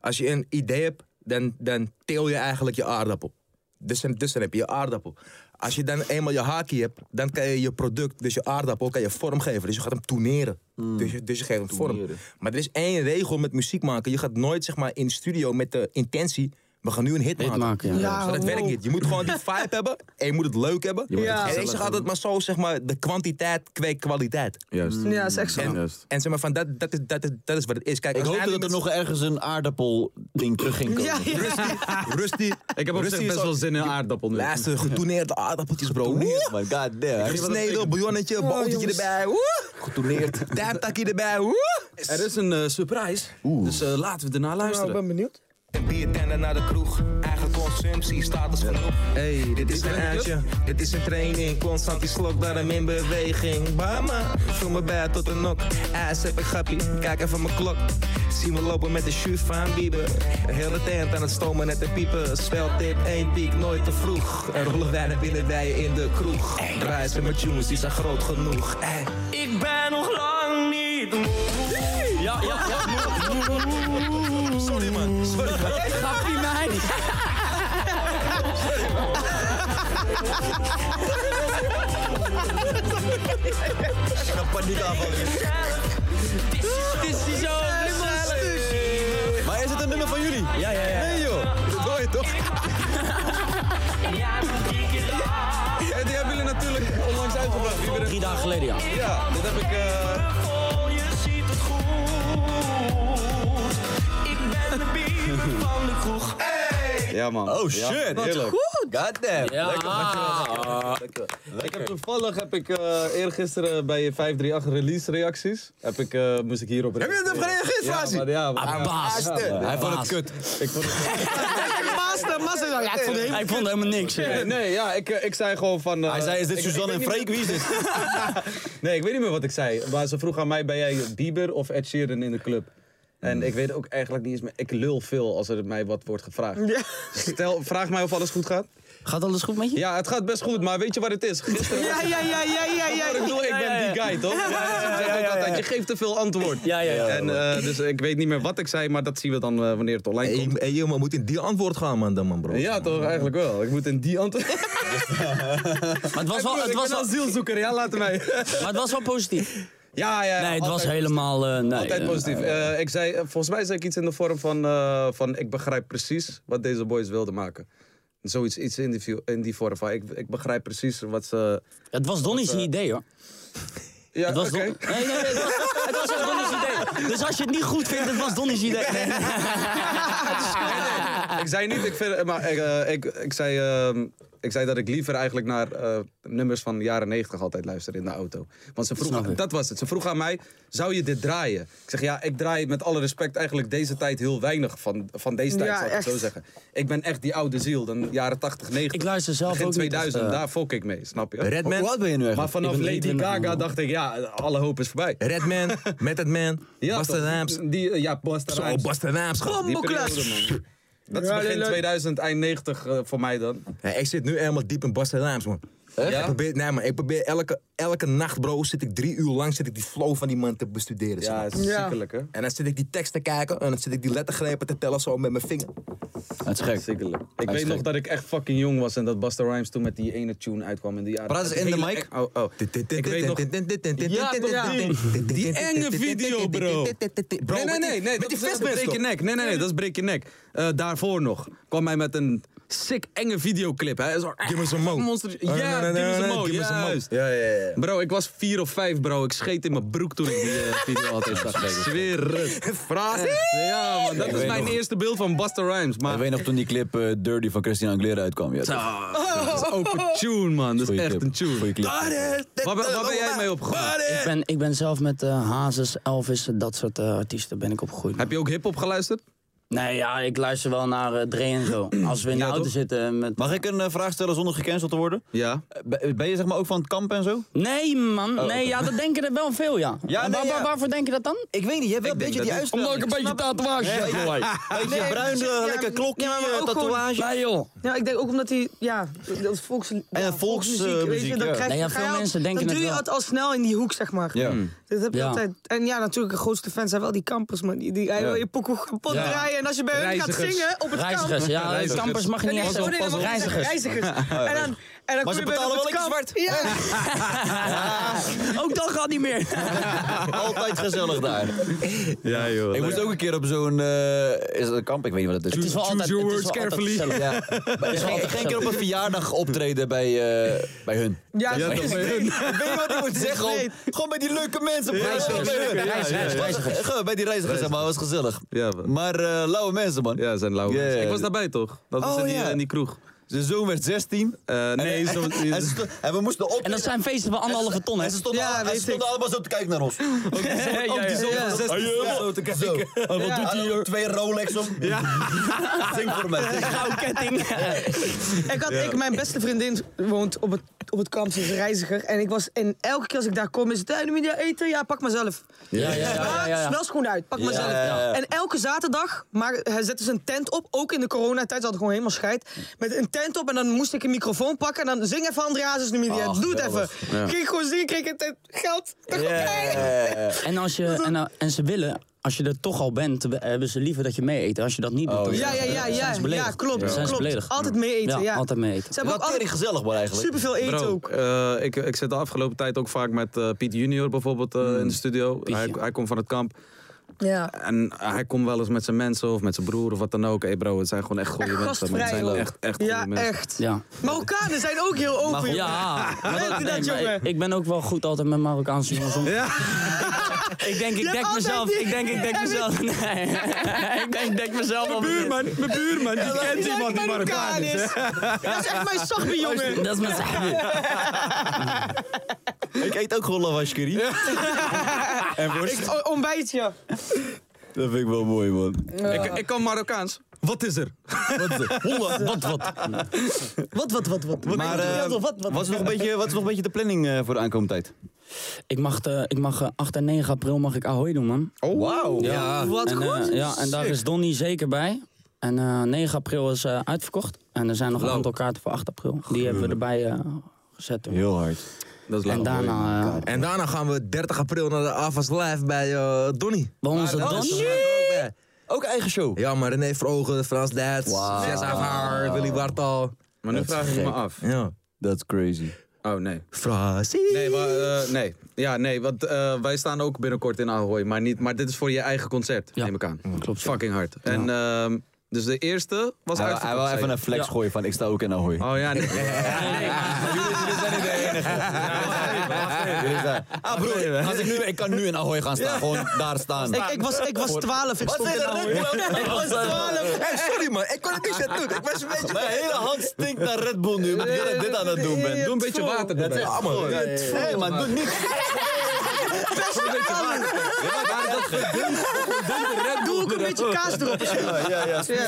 [SPEAKER 7] Als je een idee hebt, dan, dan teel je eigenlijk je aardappel. Dus, dan- dus dan heb je je aardappel. Als je dan eenmaal je haakje hebt, dan kan je je product, dus je aardappel, kan je vorm geven. Dus je gaat hem toeneren. Dus, je- dus je geeft hem vorm. Maar er is één regel met muziek maken. Je gaat nooit, zeg maar, in de studio met de intentie. We gaan nu een hit, maken.
[SPEAKER 8] maken, ja.
[SPEAKER 6] Ja,
[SPEAKER 7] Zo, dat
[SPEAKER 6] wow.
[SPEAKER 7] werkt niet. Je moet gewoon die vibe hebben en je moet het leuk hebben.
[SPEAKER 6] moet het
[SPEAKER 7] En ik zeg altijd maar zo, zeg maar, de kwantiteit kweekt kwaliteit.
[SPEAKER 5] Juist.
[SPEAKER 6] Ja, is echt zo.
[SPEAKER 7] En,
[SPEAKER 5] Juist.
[SPEAKER 7] en zeg maar, van dat, dat, is, dat, is, dat is wat het is. Kijk,
[SPEAKER 4] Ik
[SPEAKER 7] als jij
[SPEAKER 4] hoopte dat er
[SPEAKER 7] nu
[SPEAKER 4] nog ergens een aardappel-ding terug ging komen.
[SPEAKER 6] Ja, ja.
[SPEAKER 7] met- Rusty.
[SPEAKER 5] Ik heb op zich
[SPEAKER 7] Rusty is
[SPEAKER 5] best
[SPEAKER 7] al-
[SPEAKER 5] wel zin in aardappel nu.
[SPEAKER 7] Luister, getoneerde aardappeltjes, bro.
[SPEAKER 4] Toeneerd,
[SPEAKER 7] Woe!
[SPEAKER 4] man. God damn.
[SPEAKER 7] Gesneden, bouillonnetje, botertje erbij. Getoneerd. Duimtakje erbij.
[SPEAKER 5] Er is een eh, surprise, dus eh, laten we erna
[SPEAKER 6] Nou, ik
[SPEAKER 5] luisteren.
[SPEAKER 6] ben benieuwd.
[SPEAKER 1] Biertender naar de kroeg, eigen consumptie, status genoeg. Hey, dit is een uitje, dit is een training. Constant die slok, daarom in beweging. Bama, voel me bij tot een nok. IJs heb ik grappie, kijk even mijn klok. Zien we lopen met de schuif van Bieber. Een hele tent aan het stomen en te piepen. Speltip, één piek, nooit te vroeg. En rollen wijn binnen wij in de kroeg. Reizen met tunes, die zijn groot genoeg. Hey.
[SPEAKER 8] Ik ben nog lang niet moe. Ja, ja, ja.
[SPEAKER 1] Ya, Sorry man, sorry man.
[SPEAKER 8] Grappie mij.
[SPEAKER 4] paniek
[SPEAKER 8] Het is zo.
[SPEAKER 4] Maar is het een nummer van jullie?
[SPEAKER 8] Ja, ja,
[SPEAKER 1] Nah,
[SPEAKER 8] ja.
[SPEAKER 4] Nee joh, dat hoor je toch?
[SPEAKER 1] En die hebben jullie natuurlijk onlangs uitgebracht. Bieber.
[SPEAKER 8] Drie dagen geleden, ja.
[SPEAKER 1] Ja, dat heb ik. eh,
[SPEAKER 5] Ja man.
[SPEAKER 4] Oh shit, heerlijk. God damn.
[SPEAKER 8] Ja.
[SPEAKER 4] Lekker,
[SPEAKER 5] Ik heb toevallig heb ik eh eergisteren bij 538 release reacties. Heb ik, eh, moest ik hierop Heb
[SPEAKER 7] je het op gereageerd, Fazi?
[SPEAKER 5] Ja, maar, ja, maar-
[SPEAKER 8] Baas.
[SPEAKER 4] Ah, Hij vond het
[SPEAKER 8] Baas.
[SPEAKER 4] kut.
[SPEAKER 5] ik vond het-
[SPEAKER 6] Master, master. Ja, ik vond het helemaal-
[SPEAKER 8] Ik vond helemaal niks.
[SPEAKER 5] Nee, nee, ja, ik, eh, ik zei gewoon van... eh,
[SPEAKER 4] Hij zei, is dit
[SPEAKER 5] ik-
[SPEAKER 4] Suzanne
[SPEAKER 5] ik
[SPEAKER 4] en
[SPEAKER 5] weet niet
[SPEAKER 4] Freek? Wie is dit?
[SPEAKER 5] meer- Nee, ik weet niet meer wat ik zei. Maar ze vroeg aan mij, ben jij Bieber of Ed Sheeran in de club? En ik weet ook eigenlijk niet eens meer... Ik lul veel als er mij wat wordt gevraagd.
[SPEAKER 6] Ja.
[SPEAKER 5] Stel, vraag mij of alles goed gaat.
[SPEAKER 8] Gaat alles goed met je?
[SPEAKER 5] Ja, het gaat best goed, maar weet je wat het is? Gisteren...
[SPEAKER 6] Ja, ja, ja, ja, ja, ja.
[SPEAKER 5] Ik bedoel, ik ben die guy, toch? Ze zeggen ook altijd, je geeft te veel antwoord.
[SPEAKER 8] Ja, ja, ja.
[SPEAKER 5] En, eh, dus ik weet niet meer wat ik zei, maar dat zien we dan eh, wanneer het online
[SPEAKER 7] Hey,
[SPEAKER 5] komt.
[SPEAKER 7] hey, joh, maar moet in die antwoord gaan, man, dan, man, bro.
[SPEAKER 5] Ja, toch? Eigenlijk wel. Ik moet in die antwoord...
[SPEAKER 8] Maar het was wel, het was wel,
[SPEAKER 5] asielzoeker, ja, laten mij.
[SPEAKER 8] maar het was wel positief.
[SPEAKER 5] Ja,
[SPEAKER 8] Nee,
[SPEAKER 5] ja.
[SPEAKER 8] het
[SPEAKER 5] altijd
[SPEAKER 8] was
[SPEAKER 5] positief.
[SPEAKER 8] helemaal... eh, nee,
[SPEAKER 5] Altijd
[SPEAKER 8] eh,
[SPEAKER 5] positief. Eh, ik zei, eh, volgens mij zei ik iets in de vorm van, eh, van ik begrijp precies wat deze boys wilden maken. Zoiets iets in die, view- in die vorm van ik, ik begrijp precies wat ze...
[SPEAKER 8] Het was Donnie's
[SPEAKER 5] eh,
[SPEAKER 8] idee, hoor.
[SPEAKER 5] Ja,
[SPEAKER 8] Het was
[SPEAKER 5] oké.
[SPEAKER 8] Don- nee, nee, het was, het was echt Donnie's idee. Dus als je het niet goed vindt, het was Donnie's idee. Nee, nee.
[SPEAKER 6] Ah.
[SPEAKER 5] ik zei niet, ik vind, maar ik, eh, ik, ik, zei, ehm, ik zei dat ik liever eigenlijk naar eh, nummers van de jaren 90 altijd luister in de auto. Want ze
[SPEAKER 8] Snap
[SPEAKER 5] vroeg,
[SPEAKER 8] ik.
[SPEAKER 5] dat was het. Ze vroeg aan mij, zou je dit draaien? Ik zeg, ja, ik draai met alle respect eigenlijk deze tijd heel weinig van, van deze tijd,
[SPEAKER 6] Ja,
[SPEAKER 5] zou ik het
[SPEAKER 6] echt.
[SPEAKER 5] zo zeggen. Ik luister die oude ziel, dan jaren 80, 90.
[SPEAKER 8] Ik luister zelf
[SPEAKER 5] begin
[SPEAKER 8] ook niet
[SPEAKER 5] 2000,
[SPEAKER 8] echt, eh.
[SPEAKER 5] daar fok ik mee, snap je?
[SPEAKER 7] Redman.
[SPEAKER 4] Hoe oud ben je nu
[SPEAKER 5] Maar
[SPEAKER 4] eigenlijk?
[SPEAKER 5] vanaf
[SPEAKER 8] Ik ben
[SPEAKER 5] Lady
[SPEAKER 8] 23
[SPEAKER 5] Gaga
[SPEAKER 8] man.
[SPEAKER 5] dacht ik, ja, alle hoop is voorbij.
[SPEAKER 7] Redman, Method Man,
[SPEAKER 5] Ja,
[SPEAKER 7] Busta
[SPEAKER 5] toch?
[SPEAKER 7] Rhymes.
[SPEAKER 5] Die, eh, ja, Busta
[SPEAKER 7] Zo,
[SPEAKER 5] Rhymes.
[SPEAKER 7] Busta Rhymes. gast.
[SPEAKER 5] Die
[SPEAKER 6] Bomboclash.
[SPEAKER 5] periode, man. Dat is
[SPEAKER 6] Ja,
[SPEAKER 5] begin
[SPEAKER 6] leuk.
[SPEAKER 5] 2000, eind 90 eh, voor mij dan.
[SPEAKER 7] Ja, ik zit nu helemaal diep in Busta Rhymes, man.
[SPEAKER 5] Ja?
[SPEAKER 7] Ik probeer, nee, man, ik probeer elke, elke nacht, bro, zit ik drie uur lang zit ik die flow van die man te bestuderen. zeg
[SPEAKER 5] Ja,
[SPEAKER 7] maar.
[SPEAKER 5] het is
[SPEAKER 6] Ja.
[SPEAKER 5] ziekelijk, hè?
[SPEAKER 7] En dan zit ik die tekst te kijken en dan zit ik die lettergrepen te tellen zo met mijn vinger.
[SPEAKER 4] Het is gek.
[SPEAKER 5] Ziekelijk. Ik
[SPEAKER 4] is
[SPEAKER 5] weet
[SPEAKER 4] gek.
[SPEAKER 5] nog dat ik echt fucking jong was en dat Busta Rhymes toen met die ene tune uitkwam in de jaren.
[SPEAKER 4] Maar dat is in de
[SPEAKER 5] Hele
[SPEAKER 4] mic?
[SPEAKER 5] eng- Oh, oh. Ik weet nog...
[SPEAKER 7] Ja,
[SPEAKER 5] komt die. Die enge video, bro. nee, nee, nee, nee.
[SPEAKER 7] Met die
[SPEAKER 5] dat is
[SPEAKER 7] vestband.
[SPEAKER 5] Break je nek. Nee, nee, nee, dat is break je nek. Eh, daarvoor nog kwam hij met een sick enge videoclip. Hè? Zo,
[SPEAKER 7] Give me some mo. Oh,
[SPEAKER 5] Monster. Ja, give me some mo.
[SPEAKER 7] Give me some mo.
[SPEAKER 5] juist.
[SPEAKER 7] Ja, ja, ja.
[SPEAKER 5] Bro, ik was vier of vijf, bro. Ik scheet in mijn broek toen ik die eh, video altijd zag. Ik zweer het. Ja, man. Dat
[SPEAKER 4] Ik
[SPEAKER 5] is
[SPEAKER 4] weet
[SPEAKER 5] mijn
[SPEAKER 4] nog-
[SPEAKER 5] eerste beeld van Busta Rhymes.
[SPEAKER 4] Ik
[SPEAKER 5] Maar
[SPEAKER 4] weet nog toen die clip eh, Dirty van Christina Aguilera uitkwam. Ja, toch?
[SPEAKER 5] dat is ook een tune, man. Dat is
[SPEAKER 4] Goeie
[SPEAKER 5] echt
[SPEAKER 4] clip.
[SPEAKER 5] een tune.
[SPEAKER 4] Goeie clip.
[SPEAKER 5] Waar, ben- waar ben jij mee opgegroeid?
[SPEAKER 8] Ik ben, ik ben zelf met eh, Hazes, Elvis, dat soort eh, artiesten ben ik opgegroeid.
[SPEAKER 5] Heb je ook hip-hop geluisterd?
[SPEAKER 8] Nee, ja, ik luister wel naar eh Dre en zo. Als we in de
[SPEAKER 5] Ja,
[SPEAKER 8] auto
[SPEAKER 5] toch?
[SPEAKER 8] zitten met...
[SPEAKER 4] Mag ik een eh, vraag stellen zonder gecanceld te worden?
[SPEAKER 5] Ja.
[SPEAKER 4] Eh, ben- Ben je zeg maar ook van het kamp en zo?
[SPEAKER 8] Nee, man. nee,
[SPEAKER 4] Oh, oké.
[SPEAKER 8] ja, dat denken er wel veel, ja.
[SPEAKER 4] Ja,
[SPEAKER 8] En
[SPEAKER 4] nee,
[SPEAKER 8] waar-
[SPEAKER 4] ja.
[SPEAKER 8] waar- Waarvoor denk je dat dan?
[SPEAKER 4] Ik weet niet, je hebt wel een beetje die uitstraling.
[SPEAKER 8] tatoeage heb,
[SPEAKER 4] Beetje bruin,
[SPEAKER 6] precies, ja,
[SPEAKER 4] lekker klokje,
[SPEAKER 6] ja, maar ook gewoon-
[SPEAKER 4] tatoeage.
[SPEAKER 8] Nee, joh.
[SPEAKER 6] Ja, ik denk ook omdat hij, ja, dat volks, ja,
[SPEAKER 4] volksmuziek,
[SPEAKER 6] weet je, dan
[SPEAKER 4] eh, ja.
[SPEAKER 6] krijg
[SPEAKER 8] Nee, ja,
[SPEAKER 6] dan ga
[SPEAKER 8] veel
[SPEAKER 6] je al-
[SPEAKER 8] mensen denken
[SPEAKER 6] dan
[SPEAKER 8] het
[SPEAKER 6] doe je
[SPEAKER 8] wel.
[SPEAKER 6] het al snel in die hoek, zeg maar.
[SPEAKER 4] Ja.
[SPEAKER 6] Dat heb je
[SPEAKER 8] Ja.
[SPEAKER 6] altijd. En ja, natuurlijk, de grootste fans zijn wel die kampers, man. Die, die hij wil je pokoe kapot
[SPEAKER 8] Ja.
[SPEAKER 6] draaien. En als je bij hun gaat
[SPEAKER 5] Reizigers.
[SPEAKER 6] zingen op het kamp...
[SPEAKER 8] Reizigers, ja.
[SPEAKER 5] Reizigers.
[SPEAKER 8] Kampers mag je
[SPEAKER 6] En
[SPEAKER 8] niet
[SPEAKER 6] die-
[SPEAKER 8] echt
[SPEAKER 6] oh, nee, dat mag
[SPEAKER 8] zeggen.
[SPEAKER 6] ik niet zeggen,
[SPEAKER 8] Reizigers.
[SPEAKER 6] reizigers. En dan, en dan
[SPEAKER 4] Maar
[SPEAKER 6] kom
[SPEAKER 4] ze
[SPEAKER 6] je bij hun
[SPEAKER 4] betalen
[SPEAKER 6] op
[SPEAKER 4] wel
[SPEAKER 6] het
[SPEAKER 4] lekker
[SPEAKER 6] kamp.
[SPEAKER 4] zwart.
[SPEAKER 6] Ja.
[SPEAKER 8] Ook dat gaat niet meer.
[SPEAKER 4] Altijd gezellig daar.
[SPEAKER 5] Ja, joh.
[SPEAKER 4] Ik moest ook een keer op zo'n... eh, is het een kamp? Ik weet niet wat het is.
[SPEAKER 8] Het is wel altijd...
[SPEAKER 5] your
[SPEAKER 8] het is
[SPEAKER 5] words
[SPEAKER 8] wel altijd
[SPEAKER 5] carefully.
[SPEAKER 8] gezellig.
[SPEAKER 4] Ja. Maar ik ging- ik ging een keer op een verjaardag optreden bij, eh, bij hun.
[SPEAKER 6] Ja,
[SPEAKER 5] Ja, dat
[SPEAKER 6] ja,
[SPEAKER 5] ben
[SPEAKER 4] Ik weet niet wat ik moet zeggen. Gewoon, gewoon bij die leuke mensen. bro.
[SPEAKER 8] Reizigers,
[SPEAKER 4] Bij hun.
[SPEAKER 8] reizigers, reizigers.
[SPEAKER 4] Het was- Gewoon bij die reizigers, zeg maar. Het was gezellig.
[SPEAKER 5] Ja, man.
[SPEAKER 4] Maar eh, lauwe mensen, man.
[SPEAKER 5] Ja, zijn lauwe
[SPEAKER 4] Ja,
[SPEAKER 5] mensen.
[SPEAKER 4] ja,
[SPEAKER 5] Ik was
[SPEAKER 4] ja.
[SPEAKER 5] daarbij, toch? Dat was
[SPEAKER 4] Oh,
[SPEAKER 5] in, die,
[SPEAKER 4] ja.
[SPEAKER 5] in die kroeg.
[SPEAKER 4] Zijn zoon werd 16.
[SPEAKER 5] Eh, nee,
[SPEAKER 4] en,
[SPEAKER 5] zo...
[SPEAKER 4] en, en ze sto- en we moisten op.
[SPEAKER 8] En dat zijn feesten van anderhalve ton, hè.
[SPEAKER 4] En ze stonden,
[SPEAKER 6] Ja,
[SPEAKER 4] al- en
[SPEAKER 6] weet
[SPEAKER 4] ze stonden allemaal zo te kijken naar ons. Ook die zoon-
[SPEAKER 8] Ja,
[SPEAKER 4] ook
[SPEAKER 8] ja,
[SPEAKER 4] die zoon van 16 stond Oh, zo te kijken. wat doet hij hier? Twee Rolex om. Zing voor mij. zing.
[SPEAKER 8] Gouden ketting.
[SPEAKER 6] Ik had, ik, mijn beste vriendin woont op het, op het kamp, ze is een reiziger. En ik was, en elke keer als ik daar kom, is het, "Eh, moet je eten? Ja, pak maar zelf.
[SPEAKER 8] Ja, ja, ja, ja, ja.
[SPEAKER 6] Ah, Snel schoenen uit, pak maar
[SPEAKER 4] Ja,
[SPEAKER 6] zelf.
[SPEAKER 4] ja, ja.
[SPEAKER 6] En elke zaterdag maar, hij zette ze een tent op, ook in de coronatijd, ze hadden gewoon helemaal scheid. Met een tent op en dan moest ik een microfoon pakken en dan zing even Andreas nu media.
[SPEAKER 4] Ach,
[SPEAKER 6] Doe het even.
[SPEAKER 4] Oh, geweldig.
[SPEAKER 6] Ging ik gewoon zingen, kreeg ik het eh, geld. Dacht, oké.
[SPEAKER 4] Yeah.
[SPEAKER 8] En, als je, en, eh, en ze willen, als je er toch al bent, we- hebben ze liever dat je mee eet. Als je dat niet
[SPEAKER 4] Oh,
[SPEAKER 8] doet, dan
[SPEAKER 6] Ja, ja, ja, ja,
[SPEAKER 8] zijn ze beledigd.
[SPEAKER 6] ja, klopt,
[SPEAKER 8] Dan zijn ze
[SPEAKER 6] klopt.
[SPEAKER 8] beledigd.
[SPEAKER 6] Altijd mee eten,
[SPEAKER 8] Ja,
[SPEAKER 6] ja.
[SPEAKER 8] altijd mee eten.
[SPEAKER 6] Ze hebben
[SPEAKER 4] Wat
[SPEAKER 6] ook altijd
[SPEAKER 4] erg gezellig, man, eigenlijk.
[SPEAKER 6] superveel eten
[SPEAKER 5] Bro,
[SPEAKER 6] ook.
[SPEAKER 5] eh, ik, ik zit de afgelopen tijd ook vaak met eh, Piet Junior bijvoorbeeld eh, in de studio. Hij, hij komt van het kamp.
[SPEAKER 6] Hmm. Ja.
[SPEAKER 5] En hij komt wel eens met zijn mensen of met zijn broer of wat dan ook. Hey bro, het zijn gewoon echt goede
[SPEAKER 6] Echt
[SPEAKER 5] mensen. man. Het
[SPEAKER 6] gastvrij
[SPEAKER 5] zijn
[SPEAKER 6] ook.
[SPEAKER 5] echt, echt goede
[SPEAKER 6] Ja,
[SPEAKER 5] mensen.
[SPEAKER 6] echt.
[SPEAKER 8] Ja.
[SPEAKER 6] Marokkanen zijn ook heel
[SPEAKER 4] Ah,
[SPEAKER 6] open.
[SPEAKER 8] Ja, maar dat-
[SPEAKER 6] Weet je dat,
[SPEAKER 8] maar
[SPEAKER 6] jongen?
[SPEAKER 8] ik, ik ben ook wel goed altijd met Marokkaanse jongens om. Ik denk, ik
[SPEAKER 6] hebt
[SPEAKER 8] dek
[SPEAKER 6] altijd
[SPEAKER 8] mezelf.
[SPEAKER 6] die-
[SPEAKER 8] Ik denk, ik dek
[SPEAKER 6] Heb je-
[SPEAKER 8] mezelf. Nee. ik denk, ik dek mezelf op.
[SPEAKER 5] mijn buurman, die
[SPEAKER 6] Ik denk dat Marokkaan is. Dat is echt mijn sachbe, jongen.
[SPEAKER 8] Dat is mijn zaak.
[SPEAKER 4] Ik eet ook gewoon lavash curry. En worst.
[SPEAKER 6] Ik o- ontbijt je.
[SPEAKER 4] Dat vind ik wel mooi, man.
[SPEAKER 5] Ik, ik kan Marokkaans. Wat is er?
[SPEAKER 4] Holla, wat, wat.
[SPEAKER 6] Wat, wat, wat, wat?
[SPEAKER 4] Maar eh, wat is nog een beetje- wat is nog een beetje de planning eh, voor de aankomende tijd?
[SPEAKER 8] Ik mag, eh, ik mag eh, 8 en 9 april mag ik Ahoy doen, man.
[SPEAKER 4] Oh, wauw.
[SPEAKER 8] Ja,
[SPEAKER 6] wat
[SPEAKER 8] en,
[SPEAKER 6] goed.
[SPEAKER 8] eh, ja, en daar is Donny zeker bij. En eh, 9 april is eh, uitverkocht. En er zijn nog een aantal kaarten voor 8 april. Die hebben we erbij eh, gezet. hoor.
[SPEAKER 4] Heel hard.
[SPEAKER 5] Dat is
[SPEAKER 8] En daarna... eh,
[SPEAKER 7] En daarna gaan we 30 april naar de Avas Live bij eh, Donnie.
[SPEAKER 8] bij onze
[SPEAKER 7] Daar
[SPEAKER 8] Donny...
[SPEAKER 7] zijn we ook bij.
[SPEAKER 4] Ook eigen show.
[SPEAKER 7] Ja, maar René Vrogen, Frans Duits, Zes Haar, Willy Wartal.
[SPEAKER 5] Maar nu vraag ik me af.
[SPEAKER 7] Ja.
[SPEAKER 4] That's crazy.
[SPEAKER 5] Oh, nee.
[SPEAKER 1] Frasie.
[SPEAKER 5] Nee, wa- eh, nee. Ja, nee, want eh, wij staan ook binnenkort in Ahoy. Maar, niet, maar dit is voor je eigen concert, neem ik aan. Klopt. Fucking hard. En, ehm, dus de eerste was
[SPEAKER 4] Hij, wil- hij
[SPEAKER 5] uitverkocht,
[SPEAKER 4] wil
[SPEAKER 5] zei
[SPEAKER 4] even
[SPEAKER 5] je.
[SPEAKER 4] een flex gooien van ik sta ook in Ahoy.
[SPEAKER 5] Oh ja, nee.
[SPEAKER 4] Jullie zijn- Ah broer, als ik, nu, ik kan nu in Ahoy gaan staan. Gewoon daar staan.
[SPEAKER 6] Ik, ik, was, ik was 12. Ik
[SPEAKER 4] Wat
[SPEAKER 6] stond
[SPEAKER 4] is
[SPEAKER 6] in
[SPEAKER 4] er
[SPEAKER 6] Ahoy.
[SPEAKER 4] nou?
[SPEAKER 6] Ik was 12.
[SPEAKER 7] Hey, sorry man, ik kon het niet zetten doen. Ik was een beetje...
[SPEAKER 4] Mijn hele hand stinkt naar Red Bull nu. omdat ik dit aan het doen ben.
[SPEAKER 5] Doe een beetje water erbij.
[SPEAKER 4] Ja, man. Nee, maar doe niet.
[SPEAKER 6] Doe ook een beetje kaas erop. of zo.
[SPEAKER 4] Ja, ja, ja.
[SPEAKER 6] Ja.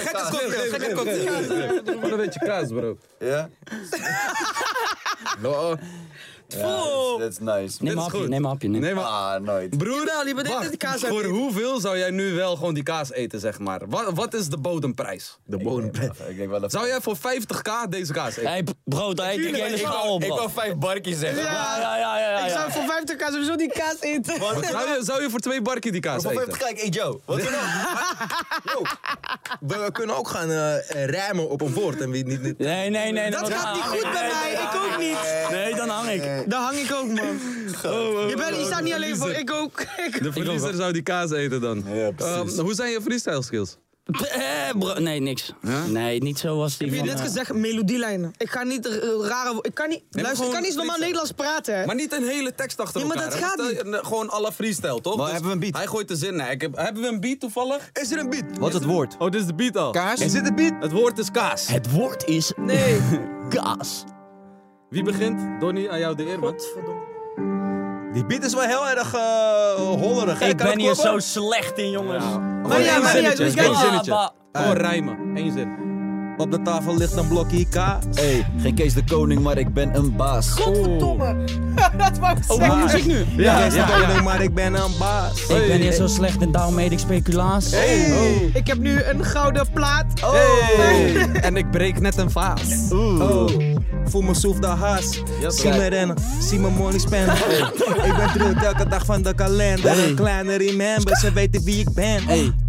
[SPEAKER 5] Gekke cocktail. Gewoon een beetje kaas, bro.
[SPEAKER 4] Ja?
[SPEAKER 6] Vol.
[SPEAKER 4] That's nice.
[SPEAKER 8] Neem een hapje, neem een hapje. neem-
[SPEAKER 5] Nee, maar
[SPEAKER 4] Ah, nooit.
[SPEAKER 5] broer,
[SPEAKER 6] die bedenkt dat die kaas uit
[SPEAKER 5] voor
[SPEAKER 6] eet.
[SPEAKER 5] hoeveel zou jij nu wel gewoon die kaas eten, zeg maar? Wat, wat is de bodemprijs?
[SPEAKER 7] De bodem.
[SPEAKER 4] Ik denk wel even-
[SPEAKER 5] Zou jij voor 50k deze kaas eten?
[SPEAKER 8] hey, bro, daar eet ik je hele schaal op,
[SPEAKER 4] Ik
[SPEAKER 8] bro.
[SPEAKER 4] wou vijf barkjes zeggen.
[SPEAKER 6] Ja.
[SPEAKER 8] Ja, ja, ja, ja, ja.
[SPEAKER 6] Ik zou voor 50 kaas sowieso die kaas eten.
[SPEAKER 5] Zou je, zou je voor twee barkie die kaas
[SPEAKER 4] Voor
[SPEAKER 5] eten?
[SPEAKER 4] 50 kijk, hey Joe. Wat doen we?
[SPEAKER 7] We kunnen ook gaan eh, rijmen op een woord en wie niet... niet-
[SPEAKER 8] Nee, nee, nee.
[SPEAKER 6] Dat
[SPEAKER 8] dan
[SPEAKER 6] gaat
[SPEAKER 8] hang
[SPEAKER 6] niet
[SPEAKER 8] ik.
[SPEAKER 6] goed bij
[SPEAKER 8] Nee,
[SPEAKER 6] mij.
[SPEAKER 8] dan
[SPEAKER 6] Ik
[SPEAKER 8] hang
[SPEAKER 6] ook niet.
[SPEAKER 8] Nee, dan hang ik.
[SPEAKER 6] Daar hang ik ook, man. Je, bent, je staat niet alleen voor. Ik ook. Ik
[SPEAKER 5] De verliezer zou die kaas eten dan.
[SPEAKER 4] Ja, precies.
[SPEAKER 5] Ehm, hoe zijn je freestyle skills?
[SPEAKER 8] Eh, bro, nee, niks. Nee, niet zoals die
[SPEAKER 6] Heb je
[SPEAKER 8] van,
[SPEAKER 6] net
[SPEAKER 8] eh,
[SPEAKER 6] gezegd melodielijnen? Ik ga niet eh, rare. wo- Ik kan niet. luister, ik
[SPEAKER 5] gewoon
[SPEAKER 6] kan niet eens normaal
[SPEAKER 5] freestyle.
[SPEAKER 6] Nederlands praten. Hè.
[SPEAKER 5] Maar niet een hele tekst achter
[SPEAKER 6] Ja, maar
[SPEAKER 5] elkaar.
[SPEAKER 6] dat
[SPEAKER 5] hè?
[SPEAKER 6] gaat
[SPEAKER 5] Stel je- eh, Gewoon alle freestyle, toch?
[SPEAKER 4] Maar
[SPEAKER 5] Dus
[SPEAKER 4] hebben we een beat?
[SPEAKER 5] Hij gooit de zin. Nee, ik heb, hebben we een beat toevallig?
[SPEAKER 7] Is er een beat?
[SPEAKER 4] Wat is het woord?
[SPEAKER 5] Oh, dit is de beat al.
[SPEAKER 7] Kaas? Is dit een beat?
[SPEAKER 5] Het woord is kaas.
[SPEAKER 8] Het woord is
[SPEAKER 6] Nee.
[SPEAKER 8] kaas.
[SPEAKER 5] Wie begint? Donnie, aan jou de eer, man.
[SPEAKER 7] Die beat is wel heel erg eh, hollerig.
[SPEAKER 8] Ik ben hier zo slecht in, jongens.
[SPEAKER 6] Maar ja, maar ja, dus
[SPEAKER 5] Eén
[SPEAKER 6] kijk.
[SPEAKER 5] zinnetje.
[SPEAKER 8] Ah,
[SPEAKER 5] Gewoon rijmen. Eén zin.
[SPEAKER 7] Op de tafel ligt een blokje kaas.
[SPEAKER 4] Hey, geen Kees de Koning, maar ik ben een baas. Oh,
[SPEAKER 6] Godverdomme.
[SPEAKER 5] Oh.
[SPEAKER 6] Dat wou ik zeggen.
[SPEAKER 8] muziek nu.
[SPEAKER 7] Ja, ja, maar ik ben een baas.
[SPEAKER 8] Ik ben hier zo slecht en daarom eet ik speculaas.
[SPEAKER 6] Ik heb nu een gouden plaat. Oh.
[SPEAKER 5] En ik breek net een vaas.
[SPEAKER 7] Oh. Voel me soef de haas. zie me rennen, zie me money spenden. Ik ben druk elke dag van de kalender. Kleine remember, ze weten wie ik ben.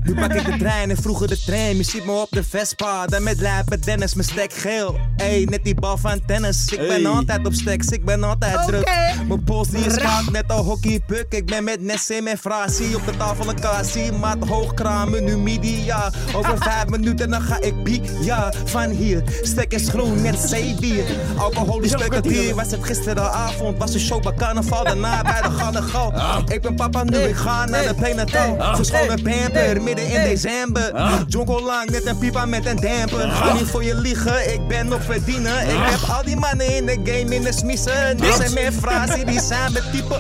[SPEAKER 7] Nu pak ik de trein en vroeger de trein. Je ziet me op de Vespa, dan met lijpen Dennis, mijn stek geel. Ey, net die bal van tennis. Ik ben altijd op stacks, ik ben altijd druk. Mijn pols die is koud, net een hockeypuck. Ik ben met Nessim en Frasie op de tafel een kassie. Maat hoogkramen, nu media. Over vijf minuten dan ga ik bier. Ja, van hier. Stek is groen, net zeewier. Alcoholisch hier. was het gisteravond. Was een show bij carnaval, daarna bij de Gallegal. Ik ben papa nu, ik ga naar de plenatal. Verscholen pamper, midden in december. Jonko lang, net een pipa met een damper. Ga niet voor je liegen, ik ben nog verdienen. Ik heb al die mannen in de game in de smissen. Dit zijn mijn frazen, die zijn met type.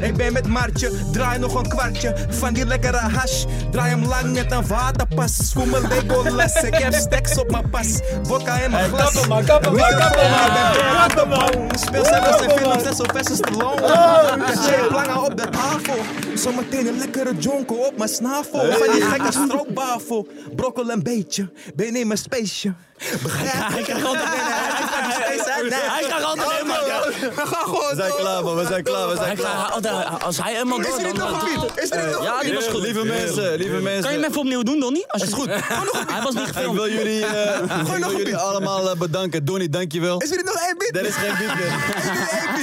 [SPEAKER 7] Ik ben met Martje, draai nog een kwartje van die lekkere hash. Draai hem lang net een waterpas. Voel me Legolas, ik heb stacks op mijn pas. Wokka in mijn glas. Kappen maar, kappen maar, kappen maar. Ik ben man. Speel zelfs in films net zo Sylvester
[SPEAKER 8] Oh,
[SPEAKER 7] Stallone. Shit, lange op de tafel. Zometeen een lekkere jonko op mijn snavel. Van die gekke stroopwafel. Brokkel een beetje, ben in mijn speesje. Begrijp je? Ik krijg altijd
[SPEAKER 8] Hij gaat
[SPEAKER 7] Oh,
[SPEAKER 8] altijd helemaal.
[SPEAKER 4] We zijn klaar, man. We zijn klaar. We zijn
[SPEAKER 8] Hij
[SPEAKER 4] klaar.
[SPEAKER 8] gaat altijd- Als hij helemaal door. dan-
[SPEAKER 7] Is er nog
[SPEAKER 8] Ja, die was goed.
[SPEAKER 4] Lieve mensen, lieve mensen.
[SPEAKER 8] Kan je hem even opnieuw doen, Donnie? Als is goed. Hij was niet
[SPEAKER 4] Ik
[SPEAKER 8] gefilmd.
[SPEAKER 4] wil jullie, eh, ik wil
[SPEAKER 7] nog een
[SPEAKER 4] jullie
[SPEAKER 7] beat.
[SPEAKER 4] allemaal eh, bedanken. Donnie, dankjewel.
[SPEAKER 7] Is er nog één beat?
[SPEAKER 4] Er is geen beat meer.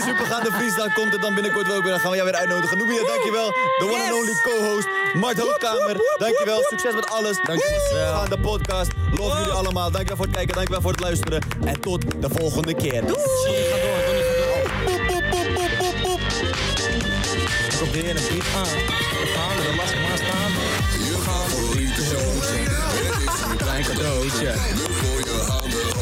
[SPEAKER 4] Supergaande freestyle komt er dan binnenkort wel ook weer. Dan gaan we jou weer uitnodigen. Noemia, dankjewel. De one and only co-host, Mart Hoogkamer. Dankjewel. Succes met alles. Dankjewel. Aan de podcast. Love jullie allemaal. Dankjewel voor het kijken. Dankjewel voor het luisteren. En tot de volgende keer. Doei.
[SPEAKER 3] Je favoriete show. Het is een klein cadeautje. Voor je handen.